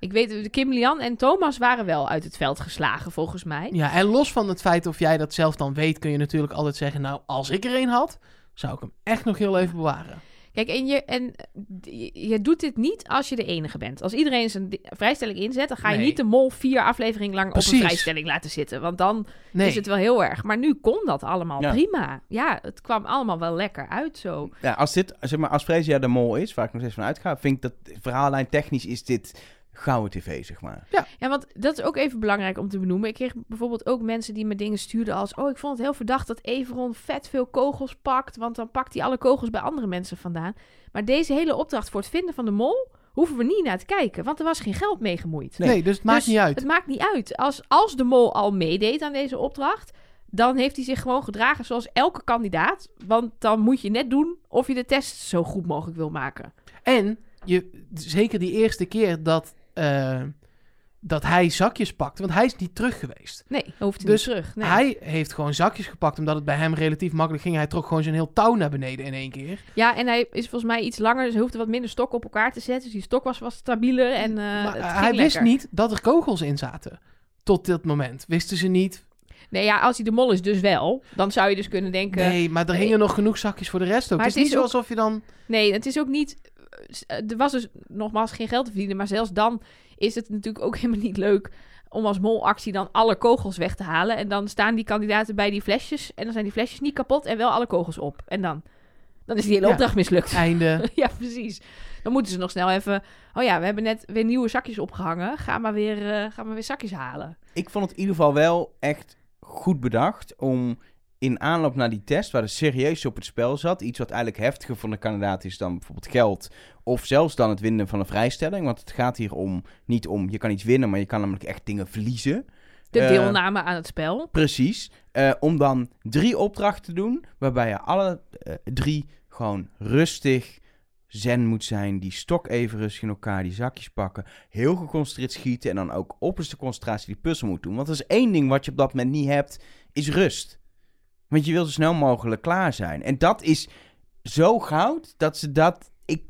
Ik weet, Kim Lian en Thomas waren wel uit het veld geslagen, volgens mij. Ja, en los van het feit of jij dat zelf dan weet... kun je natuurlijk altijd zeggen... nou, als ik er een had, zou ik hem echt nog heel even bewaren. Kijk, en, je, en eh, je- je doet dit niet als je de enige bent. Als iedereen zijn di- vrijstelling inzet, dan ga je Nee. niet de mol vier afleveringen lang op Precies. een vrijstelling laten zitten. Want dan Nee. is het wel heel erg. Maar nu kon dat allemaal Ja. prima. Ja, het kwam allemaal wel lekker uit zo. Ja, als dit, zeg maar, als Fresia de mol is, waar ik nog steeds van uitga, vind ik dat verhaallijn technisch is dit gouden tv, zeg maar. Ja, want dat is ook even belangrijk om te benoemen. Ik kreeg bijvoorbeeld ook mensen die me dingen stuurden als... Oh, ik vond het heel verdacht dat Everon vet veel kogels pakt... want dan pakt hij alle kogels bij andere mensen vandaan. Maar deze hele opdracht voor het vinden van de mol... hoeven we niet naar te kijken, want er was geen geld mee gemoeid. Nee, dus het maakt Dus niet uit. Het maakt niet uit. Als, als de mol al meedeed aan deze opdracht, dan heeft hij zich gewoon gedragen zoals elke kandidaat. Want dan moet je net doen of je de test zo goed mogelijk wil maken. En je, zeker die eerste keer dat, eh, dat hij zakjes pakt, want hij is niet terug geweest. Nee, dan hoeft hij Dus niet terug. Nee. Hij heeft gewoon zakjes gepakt, omdat het bij hem relatief makkelijk ging. Hij trok gewoon zijn heel touw naar beneden in één keer. Ja, en hij is volgens mij iets langer, dus hij hoefde wat minder stokken op elkaar te zetten. Dus die stok was wat stabieler en eh, maar het eh, ging hij wist lekker. niet dat er kogels in zaten. Tot dit moment. Wisten ze niet. Nee, ja, als hij de mol is dus wel, dan zou je dus kunnen denken... Nee, maar er Nee. hingen nog genoeg zakjes voor de rest ook. Maar het is het niet is ook- alsof je (laughs) dan... Nee, het is ook niet. Er was dus nogmaals geen geld te verdienen. Maar zelfs dan is het natuurlijk ook (laughs) helemaal niet leuk om als molactie dan alle kogels weg te halen. En dan staan die kandidaten bij die flesjes. En dan zijn die flesjes niet kapot en wel alle kogels op. En dan, dan is die hele Ja. opdracht mislukt. Einde. (laughs) ja, precies. Dan moeten ze nog snel even. Oh ja, we hebben net weer nieuwe zakjes opgehangen. Ga maar weer, eh, ga maar weer zakjes halen. Ik vond het in ieder geval wel echt goed bedacht om in aanloop naar die test, waar er serieus op het spel zat, iets wat eigenlijk heftiger van de kandidaat is dan bijvoorbeeld geld, of zelfs dan het winnen van een vrijstelling, want het gaat hier om, niet om, je kan iets winnen, maar je kan namelijk echt dingen verliezen. De Eh, deelname aan het spel. Precies. Eh, om dan drie opdrachten te doen, waarbij je alle eh, drie gewoon rustig zen moet zijn. Die stok even rustig in elkaar, die zakjes pakken. Heel geconcentreerd schieten en dan ook opperste concentratie die puzzel moet doen. Want er is één ding wat je op dat moment niet hebt, is rust. Want je wil zo snel mogelijk klaar zijn. En dat is zo goud dat ze dat... Ik,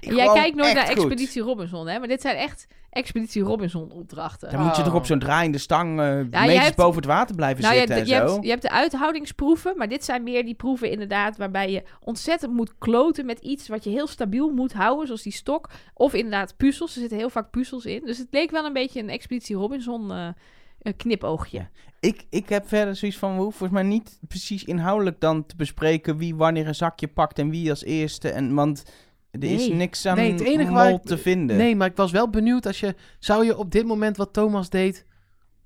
ik En Jij gewoon kijkt nooit echt naar goed. Expeditie Robinson, hè? Maar dit zijn echt Expeditie Robinson opdrachten. Dan moet je Oh. toch op zo'n draaiende stang eh, jij meters hebt- boven het water blijven Nou, je hebt, zitten de, je, en zo. hebt, je hebt de uithoudingsproeven, maar dit zijn meer die proeven inderdaad waarbij je ontzettend moet kloten met iets wat je heel stabiel moet houden, zoals die stok. Of inderdaad puzzels, er zitten heel vaak puzzels in. Dus het leek wel een beetje een Expeditie Robinson eh, eh, knipoogje. Ja. Ik, ik heb verder zoiets van, we hoeven volgens mij niet precies inhoudelijk dan te bespreken wie wanneer een zakje pakt en wie als eerste. En, want er is Nee. niks aan Nee, het enige mol waar ik- te vinden. Nee, maar ik was wel benieuwd als je... Zou je op dit moment wat Thomas deed...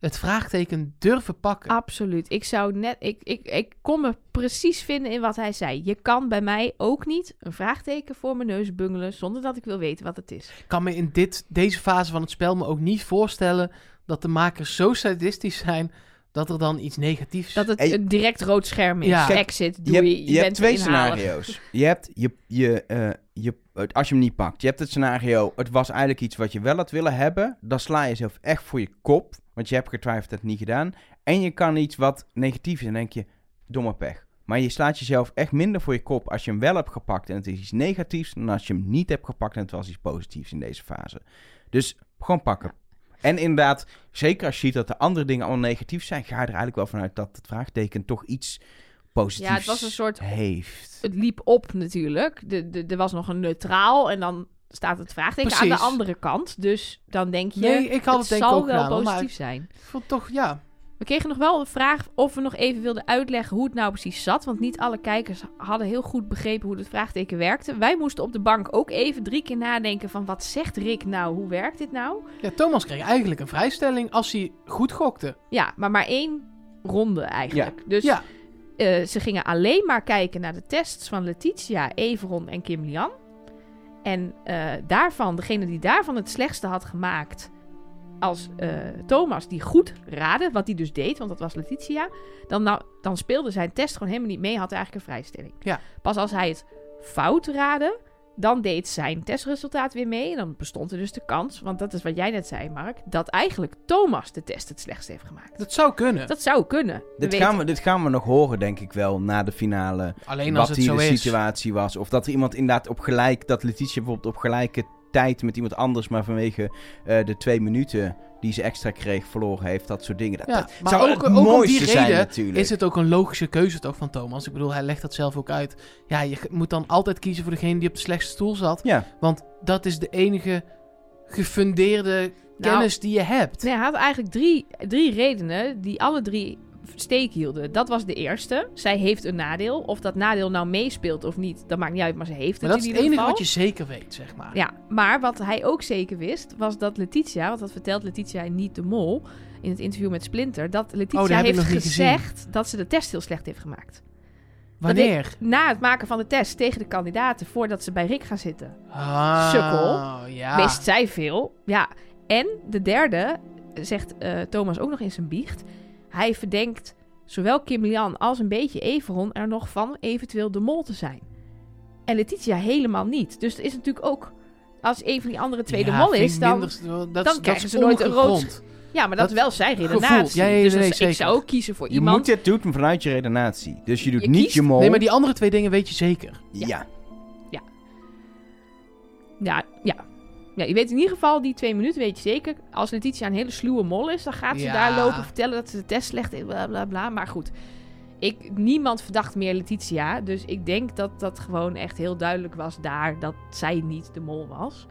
het vraagteken durven Ah. pakken? Absoluut. Ik zou net, ik, ik, ik kon me precies vinden in wat hij zei. Je kan bij mij ook niet een vraagteken voor mijn neus bungelen zonder dat ik wil weten wat het is. Ik kan me in dit, deze fase van het spel me ook niet voorstellen dat de makers zo sadistisch zijn dat er dan iets negatiefs... Dat het Hey. een direct rood scherm is. Ja. Kijk, Exit, Je hebt, je doei, je, hebt bent twee inhalig. scenario's. Je hebt, je, je, eh, je, het- als je hem niet pakt, je hebt het scenario, het was eigenlijk iets wat je wel had willen hebben. Dan sla je zelf echt voor je kop, want je hebt getwijfeld dat niet gedaan. En je kan iets wat negatief is en denk je, domme pech. Maar je slaat jezelf echt minder voor je kop als je hem wel hebt gepakt en het is iets negatiefs, dan als je hem niet hebt gepakt en het was iets positiefs in deze fase. Dus gewoon pakken. En inderdaad, zeker als je ziet dat de andere dingen allemaal negatief zijn, ga je er eigenlijk wel vanuit dat het vraagteken toch iets positiefs Ja, het was een soort heeft. het liep op natuurlijk. De, de, er was nog een neutraal en dan staat het vraagteken aan Precies. de andere kant. Dus dan denk je, nee, ik had het het, denk ik zal ook wel gedaan, hoor, maar positief ik zijn. vond toch, ja... We kregen nog wel een vraag of we nog even wilden uitleggen hoe het nou precies zat. Want niet alle kijkers hadden heel goed begrepen hoe het vraagteken werkte. Wij moesten op de bank ook even drie keer nadenken van wat zegt Rick nou? Hoe werkt dit nou? Ja, Thomas kreeg eigenlijk een vrijstelling als hij goed gokte. Ja, maar maar één ronde eigenlijk. Dus Ja. eh, ze gingen alleen maar kijken naar de tests van Letitia, Everon en Kim Lian. En eh, daarvan, degene die daarvan het slechtste had gemaakt, als eh, Thomas die goed raadde, wat hij dus deed, want dat was Letitia, dan, nou, dan speelde zijn test gewoon helemaal niet mee, had eigenlijk een vrijstelling. Ja. Pas als hij het fout raadde, dan deed zijn testresultaat weer mee. En dan bestond er dus de kans, want dat is wat jij net zei, Mark, dat eigenlijk Thomas de test het slechtst heeft gemaakt. Dat zou kunnen. Dat zou kunnen. We Dit weten- gaan, we, dit gaan we nog horen, denk ik wel, na de finale. Alleen wat als het hier zo de is. situatie was. Of dat er iemand inderdaad op gelijk, dat Letitia bijvoorbeeld op gelijke tijd met iemand anders, maar vanwege eh, de twee minuten die ze extra kreeg, verloren heeft. Dat soort dingen. Dat, Ja, dat maar zou ook, het ook om mooiste die zijn reden natuurlijk. is het ook een logische keuze toch van Thomas. Ik bedoel, hij legt dat zelf ook uit. Ja, je g- moet dan altijd kiezen voor degene die op de slechtste stoel zat. Ja. Want dat is de enige gefundeerde Nou, kennis die je hebt. Nee, hij had eigenlijk drie, drie redenen die alle drie steek hielden. Dat was de eerste. Zij heeft een nadeel. Of dat nadeel nou meespeelt of niet, dat maakt niet uit, maar ze heeft het maar dat is in het ieder enige geval. wat je zeker weet, zeg maar. Ja, maar wat hij ook zeker wist, was dat Letitia, want dat vertelt Letitia in niet de mol in het interview met Splinter, dat Letitia Oh, heb ik heeft nog niet gezegd dat ze de test heel slecht heeft gemaakt. Wanneer? Na het maken van de test tegen de kandidaten, voordat ze bij Rick gaan zitten. Ah, Sukkel. Ja. Wist zij veel. Ja. En de derde, zegt eh, Thomas ook nog in zijn biecht. Hij verdenkt zowel Kim Lian als een beetje Everon er nog van eventueel de mol te zijn. En Letitia helemaal niet. Dus er is natuurlijk ook, als een van die andere twee de Ja, mol vind is, ik dan... minder- dat, is- dat krijgen is ze nooit een rood ongegrond. Ja, maar dat, dat is wel zijn gevoel. redenatie. Ja, ja, ja, dus dan- nee, ik zeker. zou ook kiezen voor je moet iemand... dit doen vanuit je redenatie. Dus je doet Je niet kiest- je mol. Nee, maar die andere twee dingen weet je zeker. ja. Ja, ja. Ja, je weet in ieder geval, die twee minuten weet je zeker. Als Letitia een hele sluwe mol is, dan gaat ze Ja. daar lopen vertellen dat ze de test slecht heeft, bla bla bla. Maar goed, ik, niemand verdacht meer Letitia. Dus ik denk dat dat gewoon echt heel duidelijk was daar dat zij niet de mol was.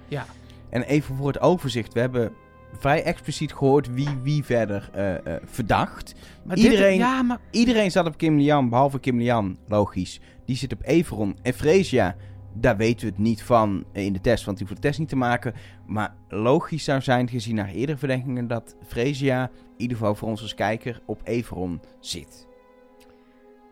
En even voor het overzicht. We hebben vrij expliciet gehoord wie wie verder eh, eh, verdacht. Maar Iedereen- Dit, ja, maar Iedereen zat op Kim Lian, behalve Kim Lian, logisch. Die zit op Everon. En Freesia, daar weten we het niet van eh, in de test, want die hoeft de test niet te maken. Maar logisch zou zijn, gezien naar eerdere verdenkingen, dat Freesia, in ieder geval voor ons als kijker, op Everon zit.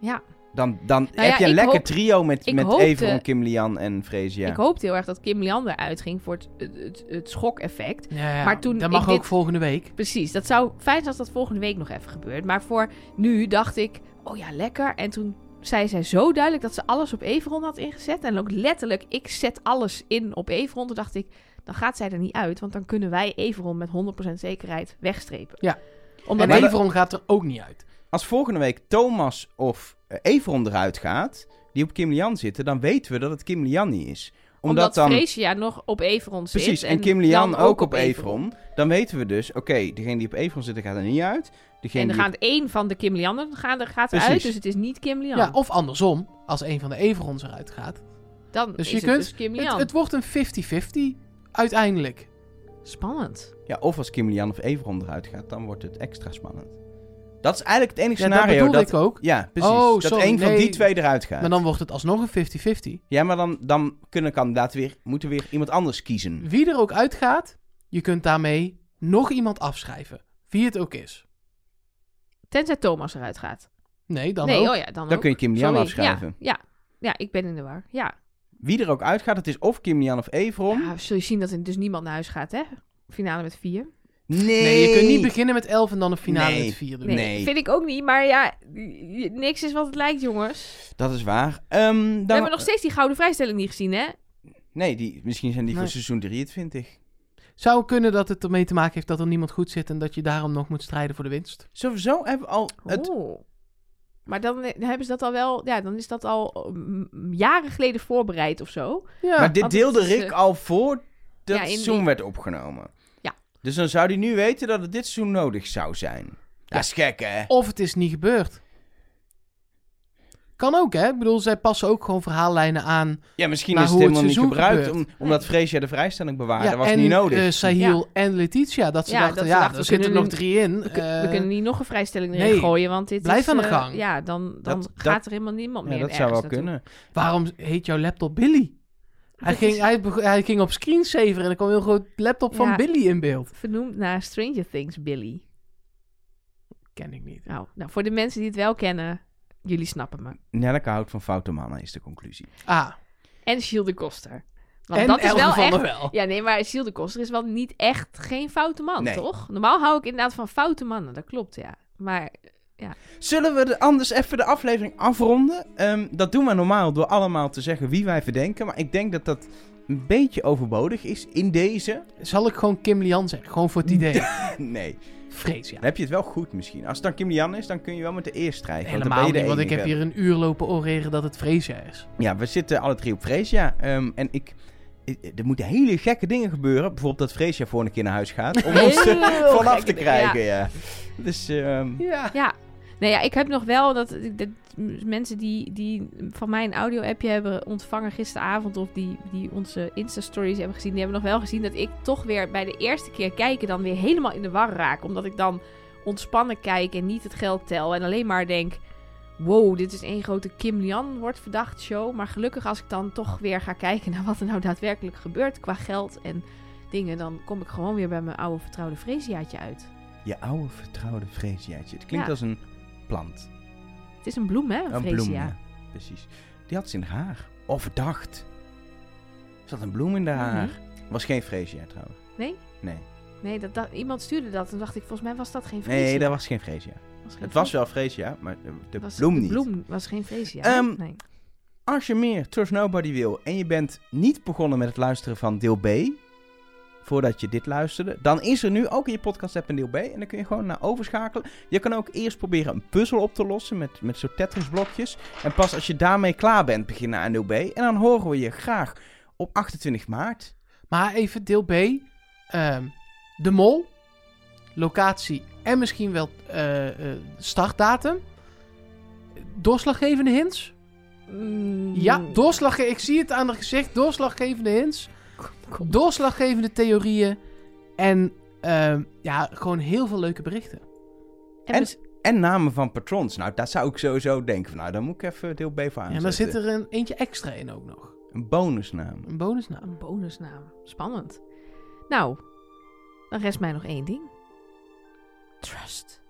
Ja. Nou Dan, dan ja, heb je een ik lekker hoop- trio met, ik met hoopte- Everon, Kim Lian en Freesia. Ik hoopte heel erg dat Kim Lian eruit ging voor het, het, het, het schokeffect. Ja, ja. Maar toen dat ik mag ook dit- volgende week. Precies, dat zou fijn zijn als dat volgende week nog even gebeurt. Maar voor nu dacht ik, oh ja, lekker. En toen zei zij zo duidelijk dat ze alles op Everon had ingezet. En ook letterlijk, ik zet alles in op Everon. Toen dacht ik, dan gaat zij er niet uit. Want dan kunnen wij Everon met 100% zekerheid wegstrepen. Ja. Omdat En Maar wij- dat- Everon gaat er ook niet uit. Als volgende week Thomas of eh, Everon eruit gaat, die op Kim Lian zitten, dan weten we dat het Kim Lian niet is. omdat dan... Freesia nog op Everon zit. Precies, en, Kim Lian ook op Evron. Dan weten we dus, oké, degene die op Evron zit, die gaat er niet uit. Degene En er die gaat één van de Kim Liannen gaan er, gaat eruit. Precies. Dus het is niet Kim Lian. Ja, of andersom, als een van de Everons eruit gaat. dan dus is je het kunt- dus Kim Het, Lian. het wordt een 50-50 uiteindelijk. Spannend. op- ja, of als Kim Lian of Evron eruit gaat, dan wordt het extra spannend. Dat is eigenlijk het enige Ja, dat scenario bedoelde dat... ik ook. Ja, precies. Oh, dat sorry, één van nee. die twee eruit gaat. Maar dan wordt het alsnog een 50-50. Ja, maar dan, dan kunnen kandidaten weer, moeten weer iemand anders kiezen. Wie er ook uitgaat, je kunt daarmee nog iemand afschrijven. Wie het ook is. Tenzij Thomas eruit gaat. Nee, dan nee, ook. oh ja, dan, Dan ook. kun je Kim Lian Sorry, afschrijven. Ja, ja, ja, ik ben in de war. Ja. Wie er ook uitgaat, het is of Kim Lian of Evron. ja, zul je zien dat er dus niemand naar huis gaat, hè? Finale met vier. Nee. Nee, je kunt niet beginnen met 11 en dan een finale Nee. met 4 doen. Nee. Vind ik ook niet, maar ja, je- niks is wat het lijkt, jongens. Dat is waar. Ehm, dan... We hebben nog steeds die gouden vrijstelling niet gezien, hè? Nee, die, misschien zijn die Nee. voor seizoen 23. Zou kunnen dat het ermee te maken heeft dat er niemand goed zit en dat je daarom nog moet strijden voor de winst. Sowieso hebben we al het Oeh. Oh. Maar dan, eh, dan hebben ze dat al wel, ja, dan is dat al mm, jaren geleden voorbereid of zo. Ja, maar dit want deelde het is, Rick eh, al voor dat ja, in seizoen die- werd opgenomen. Ja. Dus dan zou hij nu weten dat het dit seizoen Oh. nodig zou zijn. Dat is gek, hè? Of het is niet gebeurd. Kan ook, hè? Ik bedoel, zij passen ook gewoon verhaallijnen aan. Ja, misschien Maar is het hoe het helemaal niet seizoen gebruikt. gebeurt. Om, omdat Freesia de vrijstelling bewaarde. ja, was en, niet nodig. eh, Sahil en Letitia, dat ze Ja, dachten, dat ze ja, dachten, er we zitten kunnen nog nu- drie in. kun- eh, we kunnen niet nog een vrijstelling erin nee, gooien, want dit blijf is... aan de eh, gang. ja, dan, dan Dat- gaat er helemaal niemand ja, meer dat zou ergens wel naartoe. kunnen. Waarom heet jouw laptop Billy? Hij Dat ging, is hij, beg- hij ging op screensaver en er kwam een heel groot laptop van Ja. Billy in beeld. Vernoemd naar Stranger Things, Billy. Ken ik niet. Nou, nou, voor de mensen die het wel kennen, jullie snappen me. Nelke houdt van foute mannen, is de conclusie. Ah, En Gilles de Koster. Want en dat is Elge wel van echt... der Wel. Ja, nee, maar Gilles de Koster is wel niet echt geen foute man, Nee. toch? Normaal hou ik inderdaad van foute mannen, dat klopt, ja. Maar Zullen we de- anders even de aflevering afronden? Ehm, dat doen we normaal door allemaal te zeggen wie wij verdenken. Maar ik denk dat dat een beetje overbodig is in deze. (laughs) Zal ik gewoon Kim Lian zeggen? Gewoon voor het (laughs) idee. Nee. Vrees, ja. Dan heb je het wel goed misschien. Als het dan Kim Jan is, dan kun je wel met de eer strijken. want dan ben Helemaal je de niet, want ik enige. heb hier een uur lopen oreren dat het Freesia is. Ja, we zitten alle drie op Freesia. Ehm, en ik... ik- Er moeten hele gekke dingen gebeuren. Bijvoorbeeld dat Freesia voor een keer naar huis gaat. Om ons er (laughs) vanaf Heel gekke te dingen, krijgen, ja. Dus ehm, Ja. Ja. Nee, ja, ik heb nog wel dat, dat mensen die, die van mij een audio-appje hebben ontvangen gisteravond. of die, die onze Insta-stories hebben gezien. die hebben nog wel gezien dat ik toch weer bij de eerste keer kijken. dan weer helemaal in de war raak. Omdat ik dan ontspannen kijk en niet het geld tel. en alleen maar denk. Wow, dit is één grote Kim Lian wordt verdacht show. Maar gelukkig als ik dan toch weer ga kijken naar wat er nou daadwerkelijk gebeurt qua geld en dingen, dan kom ik gewoon weer bij mijn oude vertrouwde Freesiaatje uit. je oude vertrouwde Freesiaatje. Het klinkt Ja. als een plant. Het is een bloem, hè? Een Freesia? bloem, ja. Precies. Die had ze in haar haar. Overdacht. Er zat een bloem in haar Mhm. haar. Was geen Freesia trouwens. Nee? Nee. Nee, dat, dat, iemand stuurde dat en dacht ik, volgens mij was dat geen Freesia. Nee, dat was geen Freesia. geen Het was Freesia. wel Freesia, maar de, de Was- bloem de niet. bloem was geen Freesia. Ehm, nee. Als je meer Trust Nobody wil en je bent niet begonnen met het luisteren van deel B, voordat je dit luisterde, dan is er nu ook in je podcast app een deel B en dan kun je gewoon naar overschakelen. Je kan ook eerst proberen een puzzel op te lossen met, met zo'n Tetris-blokjes. En pas als je daarmee klaar bent, beginnen aan deel B. En dan horen we je graag op 28 maart. Maar even deel B. Ehm, de mol. Locatie en misschien wel eh, eh, startdatum. Doorslaggevende hints. Mm, Ja, doorslaggevende. Ik zie het aan haar gezicht. Doorslaggevende hints. kom. Doorslaggevende theorieën. En ehm, ja, gewoon heel veel leuke berichten. En dus- en- mis- En namen van patrons. Nou, daar zou ik sowieso denken van, nou, dan moet ik even deel B voor aanzetten. En daar zit er een, eentje extra in ook nog. Een bonusnaam. Een nou. bonusnaam. een bonusnaam. Spannend. Nou, dan rest mij nog één ding. Trust